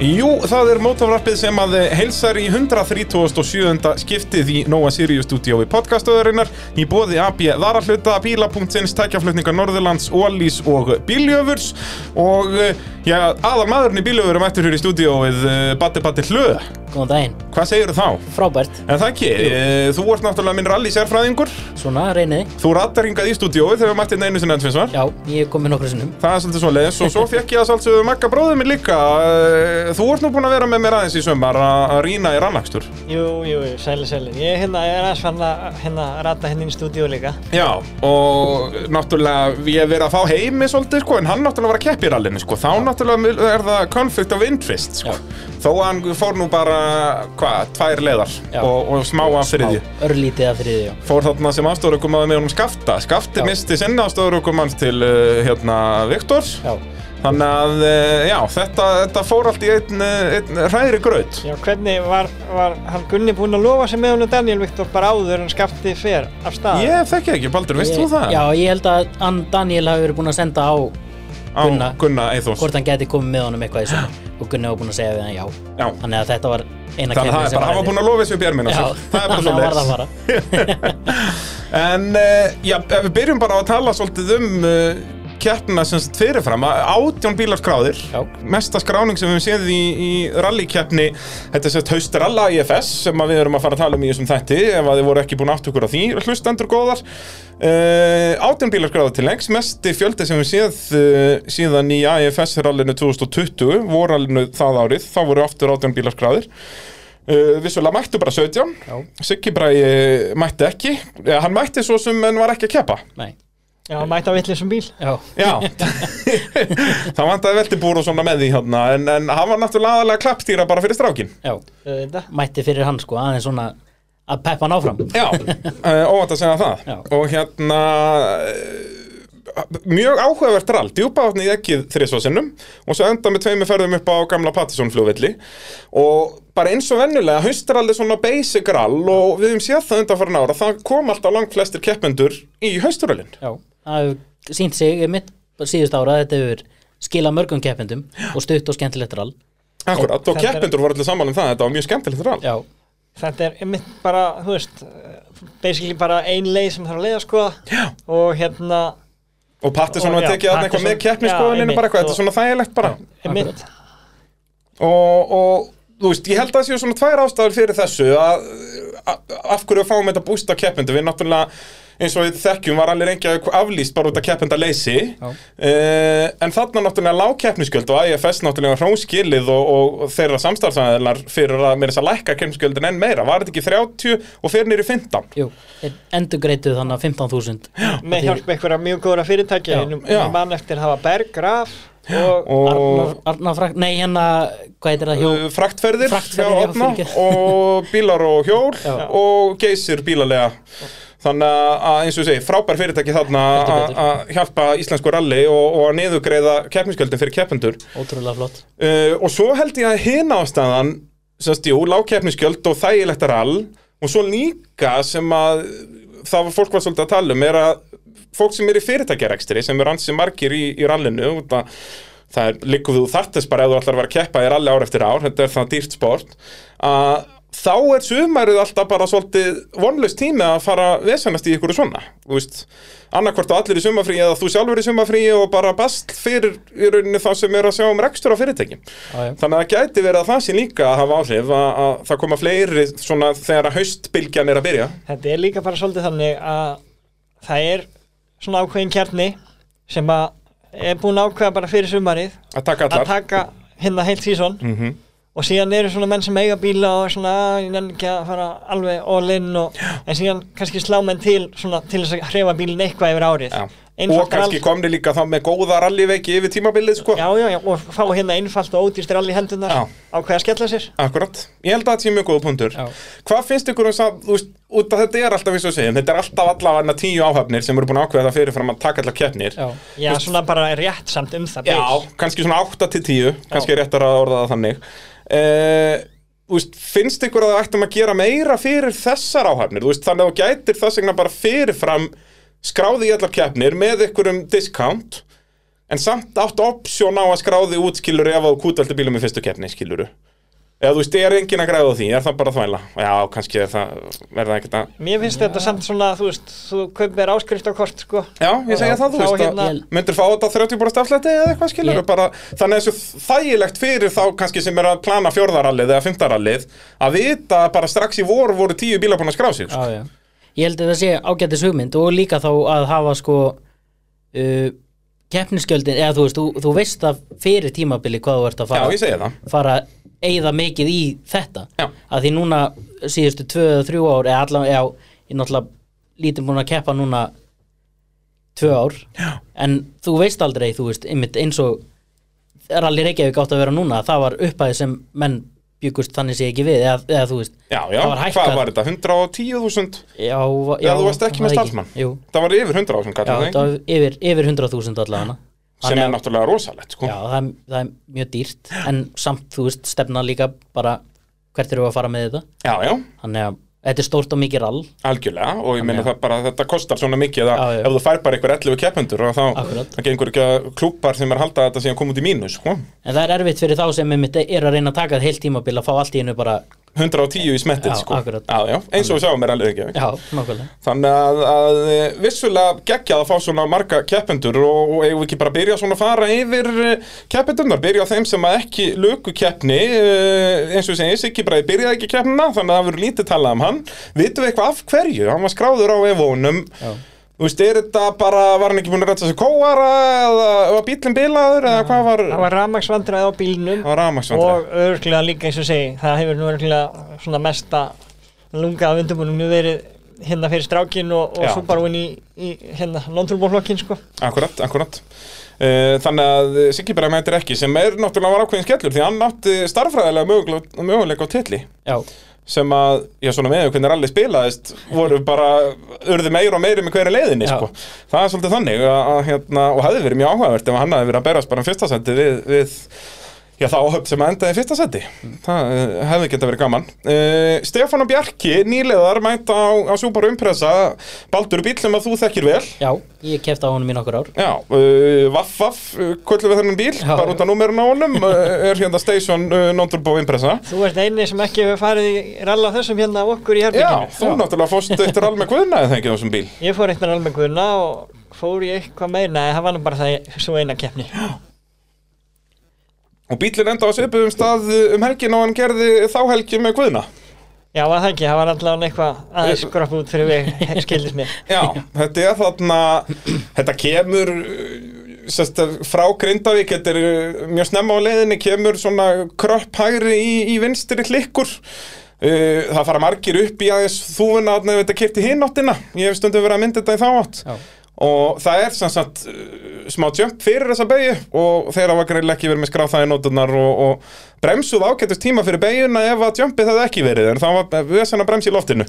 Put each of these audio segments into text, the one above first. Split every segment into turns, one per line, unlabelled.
Jú, það er mótavarpið sem að eh, heilsar í 137. skiptið í Nóa Sirius stúdíói podcastöðurinnar í bóði AB Varahluta, Bíla.sins, Tækjaflutningar Norðurlands, Ólís og Bíljöfurs og eh, já, aðal maðurinn í Bíljöfur er mættur hér í stúdíóið eh, Batti Batti Hlöð.
Góðan daginn,
Hvað segirðu þá?
frábært,
En það ekki, eh, þú ert náttúrulega minn rally sérfræðingur,
svona reyniði
þú rattar hingað í stúdíóið þegar við mættir einu sinni enn tvinsvar.
Já, ég er komið nokkru sinnum
Það er svolítið svoleiðis og svo fekk ég að svolítið Magga bróðið minn líka Eh, Þú ert nú búin að vera með mér aðeins í sömar að að rýna í rannakstur
Jú, jú, jú, sælir, sælir. Ég, hérna, ég er aðeins fann að hérna, rata henni inn í stúdíu líka.
Já, og náttúrulega ég hef verið að fá heimi svolítið sko, en hann náttúrulega var að keppa í rallinu sko, þá náttúrulega er það conflict of interest sko,
Já.
þó að hann fór nú bara, hvað, tvær leiðar
Já.
og, og smá að fyrir því.
Smá, Örlítið að þriði, já
Fór þarna sem afstofurökum með honum Skafta, Skafti
Já.
misti sinna afstofurökum hans til, uh, hérna, Viktor,
Já,
þannig að, uh, já, þetta, þetta fór allt í einn, uh, einn hræðri graut.
Já, hvernig var, var hann Gunni búinn að lofa sig með honum Daniel Viktor bara áður en skapti fer af stað?
Ég þekki ekki, Baldur, veist þú
Ég-
það?
Já, ég held að hann Daniel hafi verið búinn að senda á
Á
Gunna.
Gunna Eithors.
hvort hann geti komið með honum eitthvað í svona og Gunni var búinn að segja við hann já
Já.
Þannig að þetta var eina
Þannig að það
keppnin
er bara, hann var
eftir.
búinn að lofa þessu upp í ermina sér.
Já,
Það er bara
þannig að
svona
var það bara
En uh, já, ef við byrjum bara á að tala svolítið um uh, keppnina sem sagt fyrirfram að átjón bílar skráðir
Já.
mesta skráning sem við höfum séð í, í rallykeppni þetta er sett haustralla IFS sem að við erum að fara að tala um í þessum þætti ef að þið voru ekki búin átt okkur á því hlustendur góðar uh, átjón bílar skráðir til lengs mesti fjöldi sem við séð uh, síðan í IFS rallinu 2020 vorallinu það árið þá voru aftur átjón bílar skráðir Uh, vissulega mættu bara 17
Já.
Siggi Bræði mætti ekki ja, Hann mætti svo sem en var ekki að keppa
Nei,
Já, hann mætti á vitleysum bíl.
já,
Já Það vantaði veltibúr og svona með því hérna. en, en hann var náttúrulega aðalega klappstýra bara fyrir strákin
já
Þetta.
Mætti fyrir hann sko, aðeins svona að peppa hann áfram
Já, uh, óvænt að segja það
Já.
Og hérna eh, Mjög áhugavert rall Djúpaðatni í ekkið þrisvarsinnum Og svo enda með tveimur ferðum upp á gamla Patterson flugvilli Og bara eins og vennulega Haustrall er svona basic rall Og við höfum séð það undanfærin ára Það kom alltaf langt flestir keppendur í haustrallin
Já, það hefur sínt sig mitt síðust ára að þetta hefur skilað mörgum keppendum og stutt og skemmtilegt rall
Akkurat, og
Þetta er-
keppendur voru allir saman um það, þetta var mjög skemmtilegt rall
Já,
Þetta er einmitt bara, þú veist, eh, basically bara ein leið sem þarf að leiða sko.
Já.
Og hérna,
Og Pattinson
Og
var
já,
tekið aðna eitthvað með
Pattinson- já,
keppniskoðuninu
einmitt,
bara eitthvað, þetta er
og-
svona þægilegt bara
einmitt,
og, og þú veist, ég held að það séu svona tvær ástæður fyrir þessu að að- af hverju fáum þetta bústa keppendur við náttúrulega eins og við þekkjum var allir engi aflýst bara út af keppendaleysi uh,
Já.
en þarna náttúrulega lág keppnisgjöld og IFS náttúrulega hrónskilið og, og þeirra samstarfsæðilar fyrir að meira þess að lækka keppnisgjöldin enn meira var þetta ekki 30 og fyrir nýri 15
jú, þeir endugreituð þannig að 15.000
með
Og þeir-
hjálp einhverja mjög góðra fyrirtækja.
Já.
Já,
Já.
Mann eftir hafa Berg, Graf og,
og
Arnar, Arnar Frank, nei hérna, hvað heitir það, hjó,
Uh, fraktferðir, hjá
Fraktferðir, já,
Árna
fyrirgefðu.
og bílar og hjól
Já.
og geysir bílalega þannig að eins og ég segi, frábær fyrirtæki þarna
Heldur
að-
betur.
að hjálpa íslensku rally og, og að niðurgreiða keppnisgjöldin fyrir keppendur
ótrúlega flott
uh, og svo held ég að hina ástæðan sem stjú, lág keppnisgjöld og þægilegt rall og svo líka sem að það var fólk var svolítið að tala um er að fólk sem er í fyrirtækjarekstri sem er ansi margir í, í rallinu út að það er líkuð þú þartist bara ef þú ætlar að vera að keppa í rally ár eftir ár, þetta er það dýrt sport að þá er sumarið alltaf bara svolítið vonlaust tími að fara vesanast í ykkur svona, þú veist annarkvort að allir í sumafrí eða þú sjálfur í sumafrí og bara bast fyrir í rauninni þá sem er að sjá um rekstur á fyrirtækjum
Já, já.
þannig að það gæti verið að það sé líka að hafa áhrif að, að það koma fleiri svona þegar að haustbylgjan er að byrja
Þetta er líka bara svolítið þannig að það er svona ákveðin kjarni sem að er búin að ákveða bara fyrir sumarið
að taka
að
allar
taka hérna heilt sísón
Mhm.
og síðan eru svona menn sem eiga bíla og er svona að ég nenni ekki að fara alveg all in og, en síðan kannski slá menn til svona til þess að hrefa bílinn eitthvað yfir árið
Já.
Eins
og
drall-
kannski komni líka þá með góða rallyveiki yfir tímabilið sko
Já, já, já, og fá hérna einfalt og ódýrstir allir hendunar
Já.
ákveða að skella sér
Akkurat, ég held að það sé mjög góða punktur
Já.
Hvað finnst ykkur um það, þú veist, út að þetta er alltaf eins og við segjum, þetta er alltaf allavega tíu áhafnir sem eru búin að ákveða það fyrirfram að taka allar keppnir
Já,
Já, svona bara rétt samt um það
Já, kannski svona 8 til 10 kannski er réttar að orða það þannig uh, úst, finnst ykkur að það ættum að gera meira fyrir þessar áhafnir úst, þannig að þú gætir þess vegna bara fyrirfram skráði í allar keppnir með ykkur um discount en samt átt option á að skráði út skilur ef að þú kútveldi bílum í fyrstu keppni skilur eða þú veist, er engin að græða á því, er það bara þvæla já, kannski er það, verða ekkert að
Mér finnst þetta samt svona, þú veist, þú kaupir áskrift á kort, sko.
Já, ég segja það, þú
Þá
veist
hérna-
að myndir fá þetta 30 búrst afslætti eða eitthvað skilur
Ég-
bara, þannig að þessu þægilegt fyrir þá kannski sem er að plana fjórðarallið eða fymtarallið að vita að bara strax í vor voru tíu bílar búin að skrá sig sko.
Já, já. Ég held að það sé ágættis hugmynd og líka þá að hafa sko uh, keppnisgjöldin, eða þú veist, þú, þú veist það fyrir tímabili hvað þú ert
Já,
að fara,
ég segja það
fara eigða mikið í þetta.
Já.
Að því núna síðustu tvö eða þrjú ár, eða allan, já, ég er náttúrulega lítið búin að keppa núna tvö ár, já. en þú veist aldrei, þú veist, einmitt eins og Rally Reykjavík átt að vera núna, það var upphæði sem menn byggust þannig sé ekki við, eða, eða þú veist,
Já, já,
það var hækkað.
hvað var þetta, 110.000
Já, já,
Já, þú varst ekki með
var
starfsmann.
Jú,
Það var yfir 100.000
já,
kallar
það
það
var yfir, yfir 100.000 allavega
sem
Þannig
er
að-
náttúrulega rosalegt sko.
Já, það er, það er mjög dýrt En samt, þú veist, stefna líka bara Hvert eru að fara með þetta
já, já,
Þannig að þetta er stórt og mikið rall
algjörlega og ég meina
Þannig
það bara þetta kostar svona mikið að
Já, já.
ef þú fær bara einhver 11 keppendur og þá
Akkurat.
það gengur ekki að klúpar sem er að halda þetta síðan koma út í mínus sko.
En það er erfitt fyrir þá sem einmitt er að reyna að taka heilt tímabil að fá allt í einu bara
110 í smettið
Já,
sko.
akkurat.
já, já, eins og við sjáum er alveg ekki
Já, nákvæmlega
Þannig að, að eh, vissulega geggjað að fá svona marga keppendur og, og eigum við ekki bara að byrja svona að fara yfir eh, keppendurnar, byrja á þeim sem að ekki lögu keppni, eh, eins og ég segi, Siggi Bræði byrjaði ekki keppnina, þannig að það verður lítið talað um hann. Vitum við eitthvað af hverju? Hann var skráður á evónum.
Já.
Þú veist, er þetta bara, var hann ekki búin að rætta sig kóara eða var bílinn bilaður eða hvað var?
Það var ramagsvandræði á bílnum
Það var rafmagnsvandræði.
og örglega líka eins og ég segi, það hefur nú örglega svona mesta lunga af undirbúningum verið hérna fyrir strákin og, og
Já.
svo bara hún í, í hérna non-turbóflokkin, sko.
Akkurat, akkurat Eh, Þannig að Siggi Bræði mætir ekki sem er náttúrulega var ákveðin skellur því hann átti starffræðilega möguleika, möguleika á titli
Já,
sem að, já svona með hvernig rally spilaðist voru bara, urðu meir og meiri með hverju leiðinni
Já.
sko. það er svolítið þannig að, að hérna, og hefði verið mjög áhugavert ef hann hefði verið að berast bara um fyrsta seti við, við já þá áhöfn sem að endaði í fyrsta seti það uh, hefði geta verið gaman uh, Stefán og Bjarki, nýleðar mæta á, á Subaru Impresa Baldur bíl sem að þú þekkir vel
já, ég kefti á honum í nokkur ár
Já, uh, Vaff Vaff, uh, kvöldum við þennan bíl,
Já.
bara út af númerun á honum, uh, er hérna Station uh, Non-Turbo Impressa.
Þú ert eini sem ekki hefur farið í ralla þessum hérna af okkur
Já,
í herbygginu.
þú náttúrulega fórst eittur alveg guðnaði þengið á þessum bíl.
Ég fór eitt með alveg guðna og fór í eitthvað meir, nei, það var nú bara það svo eina keppni.
Og bílinn enda á svipuðum stað uh, um helgin og hann gerði þá helgi með guðna.
Já, var það ekki, það var allavega eitthvað aðeins skrapp út fyrir við, skildist mér.
Já, þetta er þarna, þetta kemur uh, sest, að frá Grindavík, þetta er uh, mjög snemma á leiðinni, kemur svona kröpp hægri í, í vinstri klikkur. Uh, það fara margir upp í aðeins þúfuna þarna ef þetta kipti hináttina. Ég hef stundum verið að mynda þetta í þá átt.
Já,
og það er sem sagt uh, smá jump fyrir þessa beigju og þeirra var greinilega ekki verið með skráð það í nótunar og, og bremsuð ágættust tíma fyrir beigjuna ef að jumpið hefði ekki verið en það var vesen að bremsa í loftinu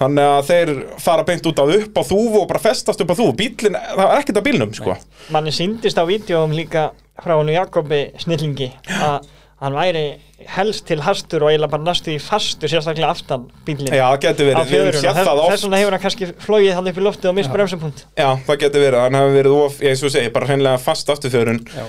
þannig að þeir fara beint út á upp á þúfu og bara festast upp á þúfu bílinn, það var ekkert á bílnum sko
manni síndist á vídjóum líka frá hann Jakobi Snillingi að hann væri helst til hastur og eiginlega bara næstu í fastur sérstaklega aftan bílinn
Já, það geti
á
verið, við
fjöruna
höfum séð það
þess
oft
vegna hefur hann kannski flóið hann upp í lofti og mist bremsupunkt
Já, það geti verið, hann hefur verið of, eins og ég segi, bara hreinlega fast afturfjörun
já,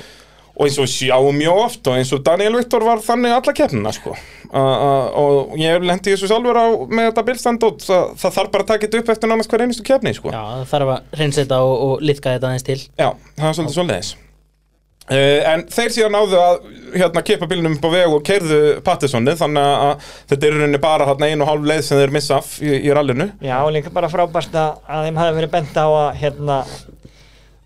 og eins og við sjáum mjög oft og eins og Daniel Viktor var þannig alla keppnina sko. uh, uh, og ég lendi þessu sjálfur á með þetta bilstand út það, það þarf bara að taka þetta upp eftir nánast hver einustu keppni sko.
já, það þarf að reynsa þetta og, og liðka þetta aðeins til
Já, það er svolítið svolítið Uh, en þeir síðan náðu að hérna, kipa bílnum upp á veg og keirðu Pattisonni þannig að þetta er í rauninni bara hérna, einu og hálf leið sem þeir missa af í, í rallinu
Já, og líka bara frábært að, að þeim hafi verið bent á að hérna að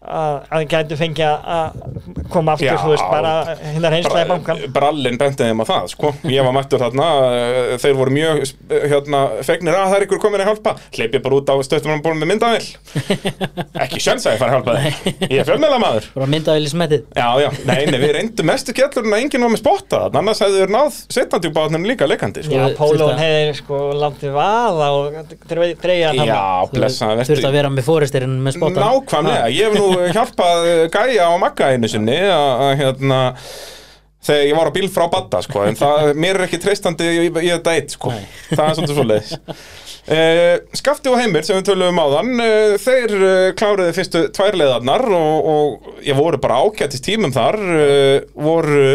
að þeim gætu fengið að að koma aftur,
Já.
þú veist, bara hérna reynslaði bankan
Brallin bendið eh, þeim að það sko. Ég var mættur þarna uh, Þeir voru mjög uh, hérna, fegnir að það er ykkur komin að hjálpa Hleyp ég bara út á stöttumannbólum með myndavill Ekki sjöns að ég fara að hjálpa þeim Ég er fjölmeðla maður
Bara myndaðið í smettið
Já, já, nei, nei, við reyndum mestu kjallurinn að enginn var með spotta þarna, annars hefðu þeir náð setjandi upp á þarna líka leikandi sko.
Já,
Þú-
Pólón
þurfti
hefði sko látið vaða og dreigja hann þarna.
Já, blessa,
Þurft að vera með fóristirinn með spotan
Nákvæmlega, ég hef nú hjálpað eh, Gæja og Magga einu sinni að að, hérna þegar ég var á bíl frá Badda sko, en það, mér er ekki treystandi í, í þetta eitt sko.
Nei.
það er svolítið svoleiðis uh, Skafti og Heimir sem við töluðum áðan uh, þeir uh, kláruðu fyrstu tvær leiðarnar og, og ég voru bara ákættist tímum þar uh, voru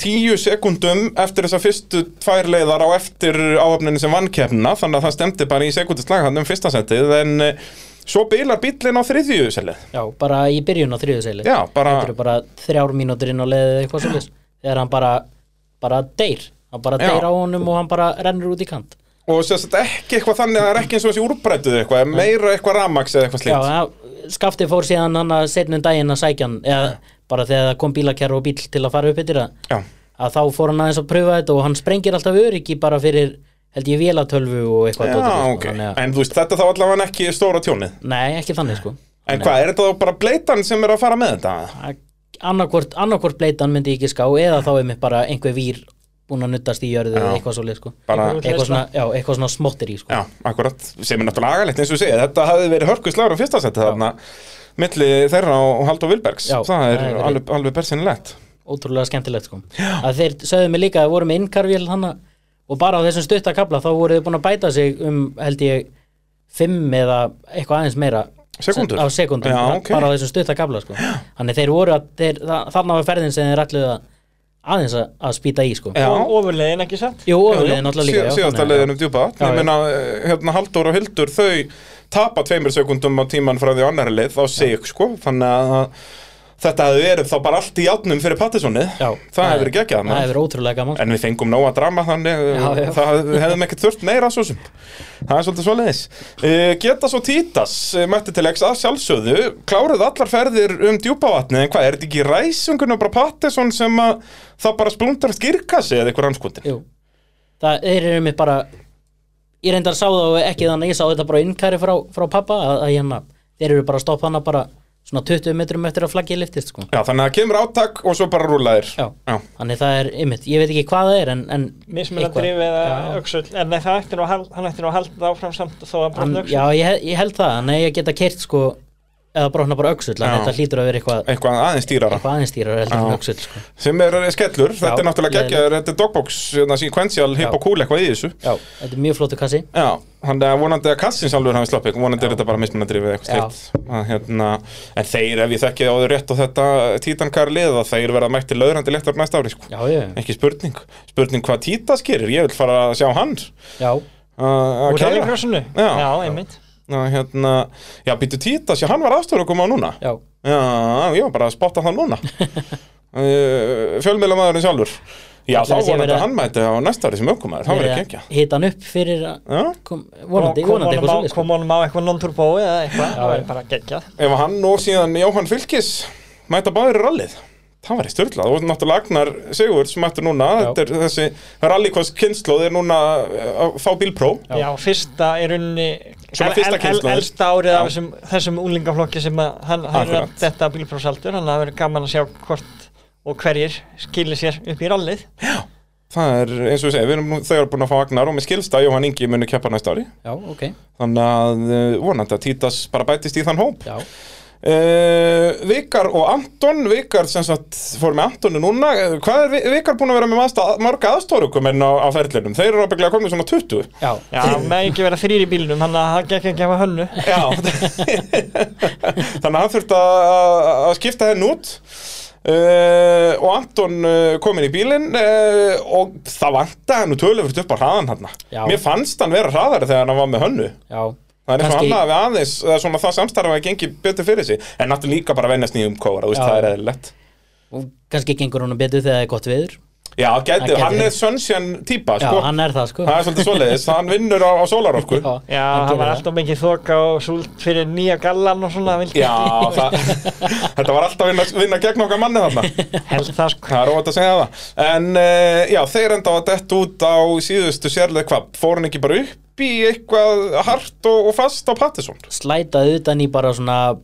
tíu sekundum eftir þessar fyrstu tvær leiðar á eftir áhafninu sem vann keppnina þannig að það stemdi bara í sekundislag hann um fyrsta setið en uh, svo bilar bíllinn á þriðju selið
Já, bara í byrjun á þriðu seili
Já, bara-
Þetta eru bara þrjár mínútur inn á leiðið eða eitthvað svolítið Þegar hann bara, bara deyr Hann bara
Já.
deyr á honum og hann bara rennur út í kant
og sem sagt ekki eitthvað þannig að það er ekki eins og þessi úrbrætuð eitthvað, er meira eitthvað ramaks eða eitthvað
Já,
slíkt
það- skafti fór síðan hann að setnum daginn að sækja hann eða bara þegar það kom bílakjara og bíl til að fara upp yfir það
Já.
að þá fór hann aðeins að pröfa þetta og hann sprengir alltaf öryggi bara fyrir held ég vélatölvu og eitthvað
Já,
dótið, sko,
ok,
þannig að,
en þú veist þetta þá allavega ekki stóra tjónið
Nei, ekki þannig sko
En hvað, er þetta þá bara bleitan sem er að fara með þetta?
annarkvort, annarkvort bleitan myndi ég ekki ská eða þá er mér bara einhver vír búin að nuttast í jörðu eða eitthvað svolítið sko
Bara,
Einhver-
eitthvað svona, já, eitthvað svona smottir í sko
já, akkurat, sem er náttúrulega agalegt eins og segja Þetta hafði verið hörkuslagur á fyrsta seti þarna Milli þeirra og Haldur Vilbergs
Já,
Það er
það er verið.
alveg, alveg bersinlegt
ótrúlega skemmtilegt sko að þeir sögðu mig líka að þeir voru með innkarvél hana og bara á þessum stutta kapla þá voru þeir búin að bæta sig um held ég fimm eða eitthvað aðeins meira
Sekúndur?
á sekundum,
Já, ok.
bara á þessum stutta kapla sko. þannig þeir voru að þeir, það, þarna var ferðin sem þeir ætluðu að aðeins að, að spýta í sko
Já.
og ofurlegin ekki satt
jú, ofurleiðin náttúrulega líka já,
Síðasta
þannig að-
leiðin um djúpa vatn.
Já,
Ég
já.
meina, eh, hérna Haldur og Hildur Þau tapa tveimur sekundum á tíman frá því á annari leið Á sig, sko Þannig að þetta hafði verið þá bara allt í játnum fyrir Pattisoni
já,
Það hefur verið geggjað
það
maður.
hefur verið ótrúlega gaman
En við fengum nóga drama þannig eh,
Já, já.
Það við hefðum ekkert þurft meira svo sem Það er svolítið svoleiðis uh, Getas og Títas eh, mætti til X að sjálfsögðu Kláruð allar ferðir um djúpavatni En hvað, er þetta ekki ræsungurinn bara Pattison sem að það bara splundar skirkassi eða eitthvað rannskutin?
Jú, það þeir eru mér bara ég reyndar sá það ekki þannig ég sá þetta bara á innkæri frá, frá pappa að, að hérna, þeir eru bara að stoppa hana bara svona 20 metrum eftir að flaggið liftist sko.
Já, þannig að það kemur átak og svo bara rúlaðir
Já.
Já.
þannig það er ymmit, ég veit ekki hvað það er en, en
mismun að
eitthvað.
drifi eða
Já.
öxull en nei, það ætti nú að hal- hann ætti nú að halda það áfram samt þó að
hann,
brotna öxull
já, ég, he- ég held það, hann eigi að geta kert sko, eða brotna bara öxull en
Já.
þetta hlýtur að vera eitthvað,
Eitthvað aðeins dýrara
eitthvað aðeinstýrar heldur
Já.
en öxull sko.
Sem er eh, skellur, þetta er náttúrulega
leiðilegt.
geggjaður Þetta er dogbox, hérna, sequential, hip og cool eitthvað í þessu
já, þetta er mjög flótu kassi
Já, hann er vonandi að kassin sjálfur hafi sloppið, vonandi er þetta bara mismunandrifið
Já.
eitthvað slikt Að, hérna, En þeir, ef ég þekki á þau rétt á þetta eh, títankar lið að þeir verða mætti löðrandi léttar næsta ári sko.
já, ég,
Ekki spurning, spurning hvað títas gerir, ég vil fara að sjá hann
já,
uh, að
úr
kæra
rallycrossinu
Já.
já, einmitt
Að, hérna, Já, býtu títas, já hann var aðstofur að koma á núna
já
Já, ég var bara að spotta það núna uh, Fjölmiðlamaðurinn sjálfur Já, þá
Ætli það sé að
vonandi
vera-
að hann mæti á næsta ári sem aukumæður, það verður ekki ekki
hita hann upp fyrir að
Já,
kom, vonandi,
kom
vonandi
honum á,
eitthvað sko. svo
kom honum á eitthvað non-turbo eða eitthvað það
já.
væri bara geggjað
ef hann og síðan Jóhann Fylkis mæta báðir í rallið það var í styrlað og náttúrulega Agnar Sigurðs mættur núna,
Já.
þetta er þessi rallykost kynnslóð er núna að fá bílpró
Já.
Já, fyrsta er unni
Svona fyrsta kynslóðin.
Elsta árið
Já.
af þessum, þessum úlingaflokki sem að hann, hann er
Akkurat.
að detta bílprófsaldur þannig að það verður gaman að sjá hvort og hverjir skilir sér upp í rallið
það er eins og ég segi, við erum nú þegar búin að fá Agnar og með skilsta Jóhann Ingi muni keppa næsta ári
Já, ok,
þannig að eh, vonandi að Títas bara bætist í þann hóp
já,
uh, Vikar og Anton Vikar sem sagt fór með Antonu núna Eh, hvað er Vi- Vikar búin að vera með masta, marga aðstórukum enn á, á ferlinum þeir eru ábygglega komið svona 20
já,
Já, það með ekki vera þrýr í bílnum þannig að það gekk ekki að hafa hönnu
Já Þannig að hann þurfti að, að- að skipta henn út uh, og Anton uh, kom inn í bílinn uh, og það vantaði hann tölufrið upp á hraðan hann
Já.
Mér fannst hann vera hraðari þegar hann var með hönnu
já
Það er eins og
Kannski-
hann hafi aðeins, eða svona það samstarfa að gengi betur fyrir sig En náttúrulega líka bara að venjast nýjum kóra, þú veist,
Já.
það er eðlilegt
og kannski gengur honum betur þegar það er gott viður
Já, gæti,
Það gæti
hann
verið.
er sunshine típa,
Já,
sko
hann er það sko
Það er svolítið svoleiðis, hann vinnur á, á sólarorku
Já,
Já,
hann
það
gerir
var
það.
alltaf mikið þoka og súlt fyrir nýja gallan og svona vildi
Já, það, þetta var alltaf að vinna, vinna gegn okkar manni þarna
ekki held það sko
Það er óvægt að segja það En uh, já, þeir enda að dett út á síðustu sérlega hvað Fór hann ekki bara upp í eitthvað hart og, og fast á Pattinson
Slætaði utan í bara svona uh,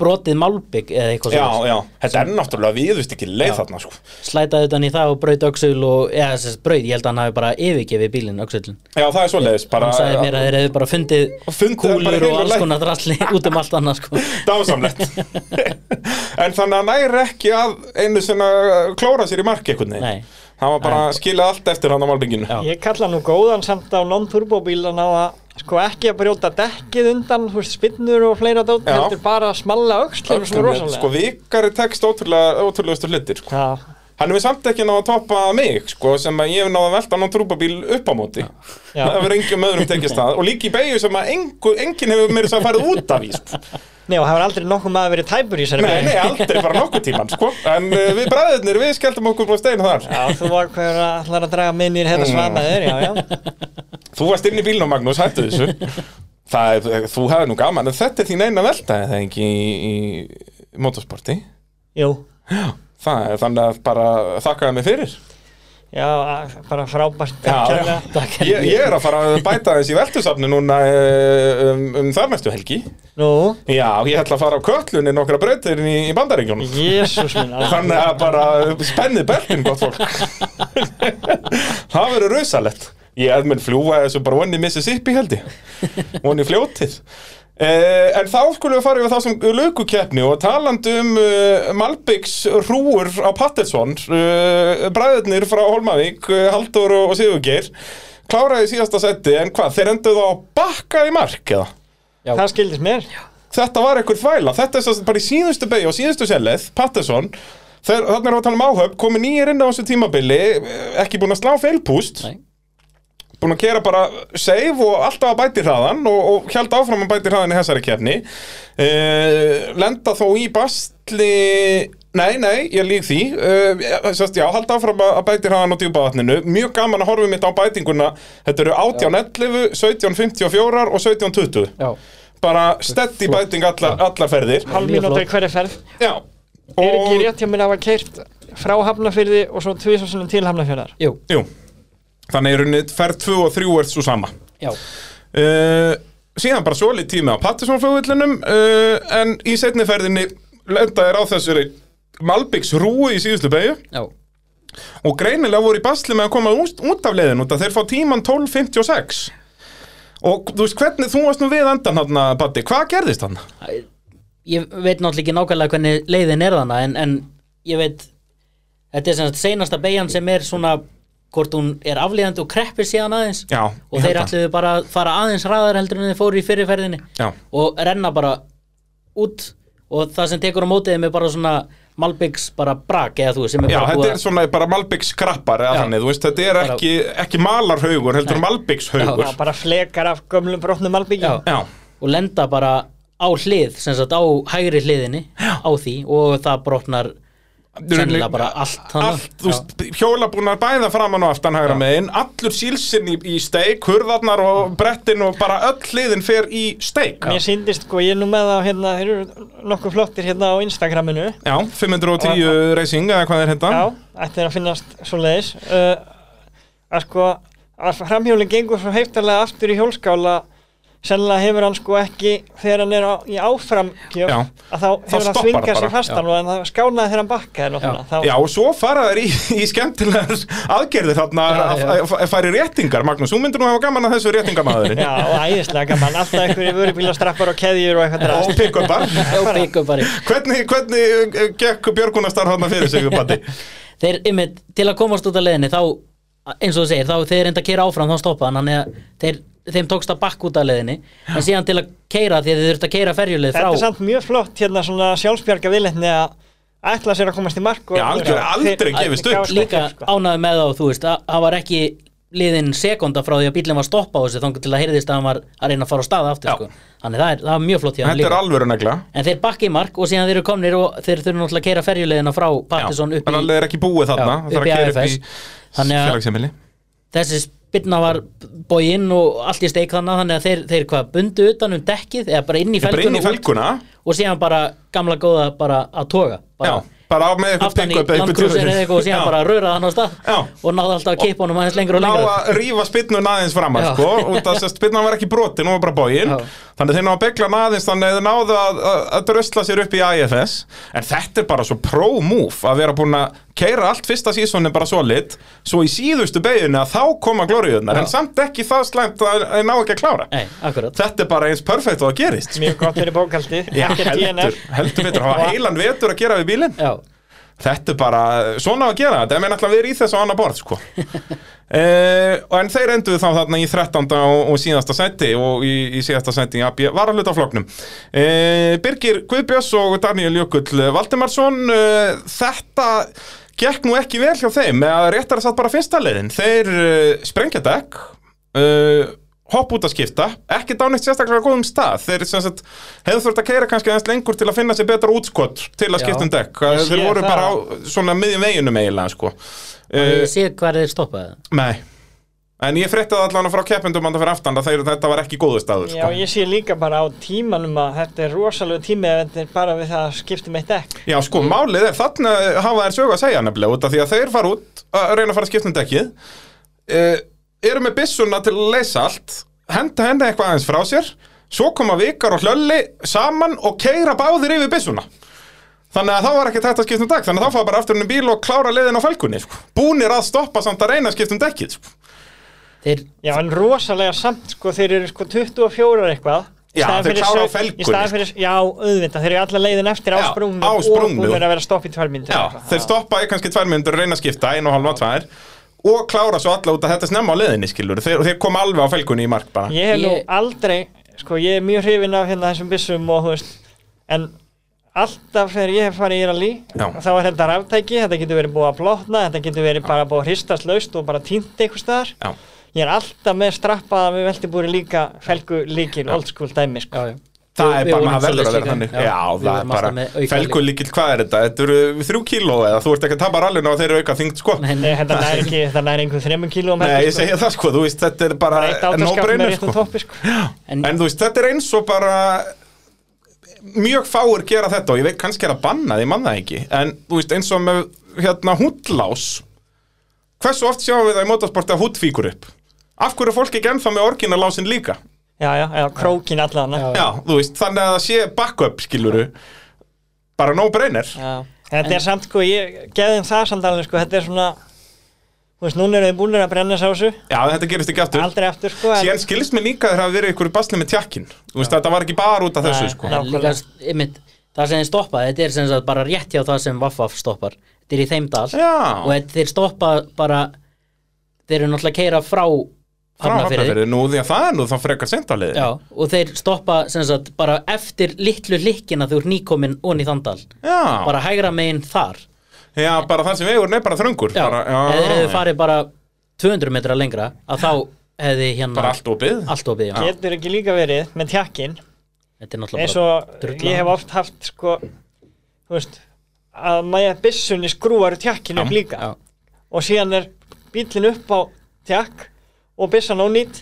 brotið málbygg eða eitthvað
já,
svoleiðis.
já, þetta er náttúrulega viðust ekki leið þarna sko.
slætaði utan í það og braut öxul og, eða þess að braut, ég held að hann hafi bara yfirgefið bílinn öxullin
já, það er svo leiðis bara,
hann sagði mér að þeir hefðu bara fundið
Og fundið bara
kúlur
heilu
og alls
læk-
konar drasli út um allt annað sko.
dásamlegt en þannig að hann næri ekki að einu sinna klóra sér í mark einhvern
Nei.
veginn hann var bara
Nei.
að skila allt eftir hann á malbygginu
Já.
Ég kalla nú góðan samt á non-turbóbílan á að sko ekki að brjóta dekkið undan þú veist, spinnur og fleira dót
Já.
heldur bara að smalla öxlum svo rosalega
sko vikari text ótrúlega ótrúlegustu hlutir sko.
Já,
hann hefur samt ekki náða að toppa mig sko, sem að ég hef náða að velta hann á trúpabíl upp á móti
Já.
það verður engum öðrum tekist það og líka í beigju sem að engu, enginn hefur meira þess að fara út af í sko.
Nei, og það hefur aldrei nokkuð maður verið tæpur í þessari
nei,
beygju.
nei, aldrei bara nokkuð tíman sko. en uh, við bræðirnir, við skelltum okkur á steinu þar
Já, þú var hver að ætlar að draga minni í
Mm.
þetta svamaður, já, já
þú varst inn í bílnum Magnús, hættu þessu það, er- eh, þú hefði nú gaman en þetta er þín eina velta er það ekki í, í motorsporti
Jú,
það er þannig að bara þakkaði mig fyrir
já, að- bara frábært
Já,
takk
já.
kærlega.
Takk.
ég, ég er að fara að bæta þessi veltusafni núna eh, um, um þarmestu helgi
Nú,
Já, ég ætla að fara á köllunni nokkra breytir í, í bandaríkjónum
jésús minn alveg.
Þannig að bara spennið beltin gott fólk Það verður rausalett Ég er minn fljúa þessu bara vonni Mississippi held ég Vonni fljótið Uh, en þá skulum við fara yfir þá sem lögukeppni og talandi um uh, Malbyggs hrúur á Pattelsson uh, bræðurnir frá Holmavík uh, Haldur og, og Sigurgeir kláraði í síðasta seti en hvað, þeir enduðu á bakka í mark eða?
Það skildist mér
þetta var einhver þvæla, þetta er svo sem bara í síðustu beigju og síðustu selið, Patterson þegar þarna erum við að tala um áhöf, komið nýjir inn á þessu tímabili, eh, ekki búin að slá feilpúst,
Nei.
búin að gera bara save og alltaf að bæti hraðan og, og held áfram að bæti hraðan í þessari kefni uh, lenda þó í bastli Nei, nei, ég lík því uh, Sest, Já, halda áfram að að bæti hraðan á djúpavatninu Mjög gaman að horfa mitt á bætinguna Þetta eru 18.11, 17.54 og 17.20
já,
bara stedd í bæting allar, allar ferðir
Hálf
Mjög
mínútur
flott.
í hverju ferð
já
Er ekki
og,
rétt hjá mér að hafa keirt frá Hafnafyrði og svo tvisvarsunum til Hafnafjörðar
jú,
jú, þannig er unnið ferð 2 og 3 er svo sama
já,
uh, síðan bara svolít tími á Pattisonflugullinum uh, en í setni ferðinni lenda þér á þessari Malbyggs rúi í síðustu beigju
já
og greinilega voru í basli með að koma út, út af leiðin út að þeir fá tíman 12.56 og þú veist hvernig þú varst nú við endan hann að Patti, hvað gerðist hann?
ég veit náttúrulega ekki nákvæmlega hvernig leiðin er þarna en, en ég veit þetta er sem sagt seinasta beigjan sem er svona hvort hún er aflíðandi og kreppir síðan aðeins
Já,
og þeir ætluðu bara að fara aðeins hraðar heldur en þeir fóru í fyrirferðinni
Já.
og renna bara út og það sem tekur á mótiðum er bara svona Malbyggs bara brak eða þú veist, sem er
Já,
bara
þetta
búið
er svona bara Malbyggs krappar eða
Já.
þannig, þú veist, þetta er
Bara-
ekki, ekki malarhaugur, heldur Malbyggs haugur
Já, bara flekar af gömlum brotnum albyggi
Já.
Já,
og lenda bara á hlið sem sagt á hægri hliðinni á því og það brotnar sennilega bara allt þarna.
allt, þú veist, hjólabúnar bæða framan og aftan hægra megin, allur sílsinn í, í steik, hurðarnar og brettin og bara öll hliðin fer í steik Já,
Mér síndist sko, ég er nú með það hérna, þeir eru nokkuð flottir hérna á Instagraminu
510 racing eða hvað er þetta
Já, ætti að finnast svo leiðis uh, að sko að framhjólinn gengur svo heiftarlega aftur í hjólskála sennilega hefur hann sko ekki þegar hann er á, í áframgjöf
Já.
að þá hefur hann
stoppar
svingað
bara.
sér fastan og en það skánaði þegar hann bakkaði náttúrulega. þá,
Já, og svo fara þær í, í skemmtilegar aðgerðir þarna
Já,
að
já.
að- að fara í réttingar, Magnús, þú myndir nú hafa gaman að þessu réttingamæðurinn
Já, og æðislega gaman, alltaf einhverju vörubílastrappar og keðjur og eitthvað
og
drast
pick-upar
Já, pick-up bara.
Hvernig, hvernig eh, gekk Björgunarstarf hann fyrir sig, Batti?
þeir, einmitt, til að komast út af leiðinni þá, eins og þú segir, þá þeir reynda að keira áfram þá stoppa hann, þannig að þeir, þeim tókst að bakk út af leiðinni en síðan til að keira, því að þeir þurft að keira ferjuleið
Þetta er
frá,
samt mjög flott hérna svona sjálfsbjarga viðleitni að ætla sér að komast í mark og-
Já, algjör, aldrei
Þeir-
gefist upp.
gáfust
líka
sko.
ánaði með þá, þú veist, að það var ekki liðin sekunda frá því að bílinn var að stoppa á þessu þangur til að heyrðist að hann var að reyna að fara á stað aftur,
Já.
sko. þannig það er, það er mjög flott hjá hann
Þetta er
líka,
alvöru negla
en þeir bakki í mark og síðan þeir eru komnir og þeir þurfum náttúrulega að keira ferjuleiðina frá Partisson upp
Þannig að
í,
er ekki búið þarna Það þarf
Já, upp í
að keyra upp í
AFS. Þannig að-
félagsheimili
þessi spilna var bóinn og allt í steik þannig þannig að þeir, þeir hvað bundu utan um dekkið eða bara inn í
Ég bara inn
felguna,
í felguna
Út, og síðan bara gamla góða bara að toga bara,
Já. bara á með eitthvað
aftan í
pick-up eða eitthvað
landkrúsin
djöfull.
eða eitthvað og síðan
Já.
bara röra hann á stað
Já.
og náði alltaf að kippa honum aðeins lengur og
ná
lengur
að rífa spinnan aðeins framar
Já.
sko, út að spinnan var ekki brotin, hún var bara bógin
Já.
þannig að þeir ná að begla hann aðeins þannig að þeir náðu að, að, að drösla sér upp í IFS en þetta er bara svo pro-move að vera búin að keira allt fyrsta sísónin bara solid, svo í síðustu beginni að þá koma glóriðunar,
Já.
en samt ekki það slæmt að að ná ekki að klára
Nei, akkurat
þetta er bara eins perfekt og það gerist
Mjög gott fyrir bókaldið
Já,
Ekkert DNF.
heldur, heldur betur, hafa heilan vetur að gera við bílinn
Já,
Þetta er bara, svona á að gera þetta, en við ætlum að vera í þessu á annað borð, sko. uh, en þeir enduðu þá þarna í 13. og, og síðasta seti og í, í síðasta seti í AB varahluta floknum. Uh, Birgir Guðbjörns og Daniel Jökull Valdimarsson, uh, þetta gekk nú ekki vel hjá þeim, eða réttar að satt bara fyrsta leiðin. Þeir uh, sprengja dekk, uh, hopp út að skipta, ekki dánitt sérstaklega góðum stað. Þeir sem sagt, hefðu þurft að keira kannski aðeins lengur til að finna sér betra útskott til að
Já.
skipta um dekk.
Ég
Þeir
sé
voru
það.
bara á svona miðjum veginum eiginlega sko
ég
uh,
sé hvað þeir stoppaði
Nei En ég fréttaði allan frá keppendum hann fyrir aftan að þeir, þetta var ekki góðu staður
Já,
sko.
ég sé líka bara á tímanum að þetta er rosalega tími ef þetta er bara við það að skipta með dekk
Já, sko, málið er, þarna hafa þeir sögu að segja nefnilega út af því að þeir fara út að reyna að fara að skipta um dekkið uh, eru með byssuna til að leysa allt henda henni eitthvað aðeins frá sér svo koma vikar og hlölli saman og keira báðir yfir byssuna þannig að þá var ekki þetta að skipta um dekk þannig að þá fara bara aftur um bíl og klára leiðin á fælkunni sko. búnir að stoppa samt að reyna að skipta um dekkið sko.
Þeir,
Já, en rosalega samt, sko, þeir eru sko 24 eitthvað Í
Já,
staðinn
þeir
fyrir
klára á
sau- í
felgunni,
staðinn fyrir- Já, auðvitað, þeir eru alla leiðin eftir á
Já,
sprungum
á
og
sprungnum.
búinir að vera stopp í tværmyndu
Já, þeir stoppa í kannski tvær myndur og reyna að skipta, einu og halva tvær og klára svo alla út að þetta er snemma á leðinni skilur þeir, þeir kom alveg á felgunni í mark bara
Ég hef nú
Ég-
aldrei, sko, ég er mjög hrifinn af hérna þessum byssum og, þú veist, en alltaf þegar ég hef farið í rally
Já.
og þá er þetta ráftæki, þetta getur verið búið að blotna, þetta getur verið bara búið að hristast laust og bara týnt einhvers staðar.
Já,
Ég er alltaf með strappaða með veltibúri líka felgu líkil, old school dæmi, sko.
já, já
það
Við-
er
við
bara,
vorum
það verður að
svoleiðis
vera þannig
líka.
Já,
við
það er
vorum alltaf með
bara,
auka
felgun líkil, hvað er þetta? Þetta eru þrjú kíló eða þú ert ekki að tapa rallinu og þeir eru auka þyngd sko
Nei,
Nei, þetta næri ekki, þetta næri einhver þremum kílóum.
Nei, ég segja það sko, þú veist, þetta er bara
Eitt átaskap með
no-brainer,
réttum
sko.
toppi, sko.
En,
En þú veist, þetta er eins og bara mjög fáir gera þetta og ég veit kannski er að banna því, mann það ekki en þú veist, eins og með hérna hútlás hversu oft sjáum við það í motorsporti að hút fíkur upp af hverju er fólk ekki ennþá með orginalásin líka
Já, já, já, krókin allan.
Já,
já, þú veist, þannig að það sé backup skiluru, bara no brainer
Já. Þetta er samt sko, ég geðum það samt alveg sko, þetta er svona þú veist, núna eru þið búinir að brenna sásu
já, þetta gerist ekki aftur
aldrei eftir sko en-
síðan skilst mér líka þegar að verið ykkur basli með tjakkin þú veist, þetta var ekki bara út af þessu
Nei,
sko.
en líka, einmitt, það sem þeir stoppaði þetta er sem sagt bara rétt hjá það sem Vaffaf stoppar Þetta er í þeim dal
Já.
og þetta- þeir stoppa bara þeir eru náttúrulega að keira frá
frá
Hafnarfirði.
hafnafyrir, nú því að það er nú þá frekar sent á leiðin
Já, og þeir stoppa sem sagt bara eftir litlu likkina þú ert nýkomin onni í þann dal
já,
bara hægra megin þar
já, bara það sem vegurinn er bara þröngur
Já,
bara,
ef þeir hefðu farið bara 200 metra lengra að þá hefði hérna
bara allt opið
allt opið, já.
getur ekki líka verið með tjakkin
Þetta er
eins
náttúrulega
og
drulla.
ég hef oft haft sko þú veist að maður byssunni skrúar tjakkin upp líka
já.
og síðan er bílinn upp á tjakk og byssan ónýtt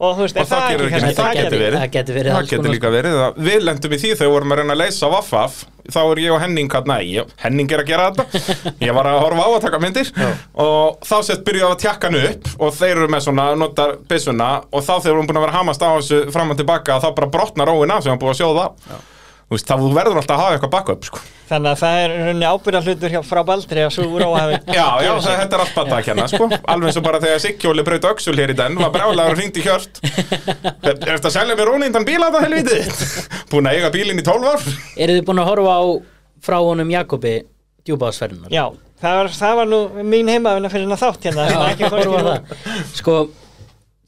og þú
Og
veist, er
það gerir ekki
kannski
neitt, það
tjakkin?
getur verið
það gæti verið
Það
alls
getur
konar,
líka verið, það- við lendum í því þegar vorum að reyna að leysa vaffaf þá er ég og Henning að, nei, ég- Henning er að gera þetta ég var að horfa á að taka myndir og þá sett byrjuðu að tjakka hann upp og þeir eru með svona, notar byssuna og þá þegar vorum búin að vera að hamast á þessu fram og tilbaka þá bara brotnar róin af sem hann búið að sjóða á. þú veist, þá þú verður alltaf að hafa eitthvað baka upp sko.
þannig að það er í rauninni ábyrða hlutur hjá frá Baldri að svo úr áhafi
já, já, það, þetta er allt bara að kenna sko. alveg eins og bara þegar Siggjóli braut öxul hér í den var brálaður og hringdi í hjört er þetta að selja mér rónindan bíla þetta helviti búin að eiga bílinn í 12 ár
sko. Eru þið búin að horfa á frá honum Jakobi djúbaðsferðunar?
Já, það var, það var nú mín heimavinna fyrir hennar þátt hérna sem ekki komst í nú.
Sko,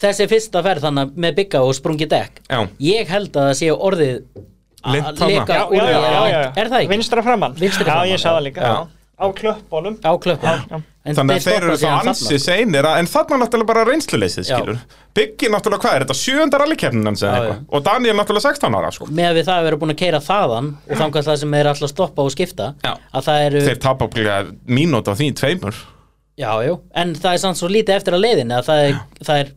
þessi fyrsta ferð þannig með bygga og sprungi dekk
Já.
Ég held að það sé orðið að
Lint þarna.
leka
Já,
úr
já,
því
já,
að
já, já,
langt. Er það ekki?
Vinstra framann
Vinstra
Já,
framan,
ég sá það
já.
líka
Já.
já. Á klöppunum
Á klöppum
Já, já.
En
Þannig að
stoppa
þeir eru þá
síðan þarna,
ansi
sko.
seinir að- En þarna er náttúrulega bara reynsluleysið
Já.
skilur Byggi náttúrulega hvað er þetta? Sjöndar allikeppnin hans eða
Já,
eitthvað Og Daniel náttúrulega 16 ára sko
Með að við það að vera búin að keira þaðan og þangar það sem þeir eru alltaf að stoppa og skipta
Já.
að það eru
Þeir tapa okkur mínúti á því í tveimur
Já, já, en það er samt svo lítið eftir að leiðin að það er, það er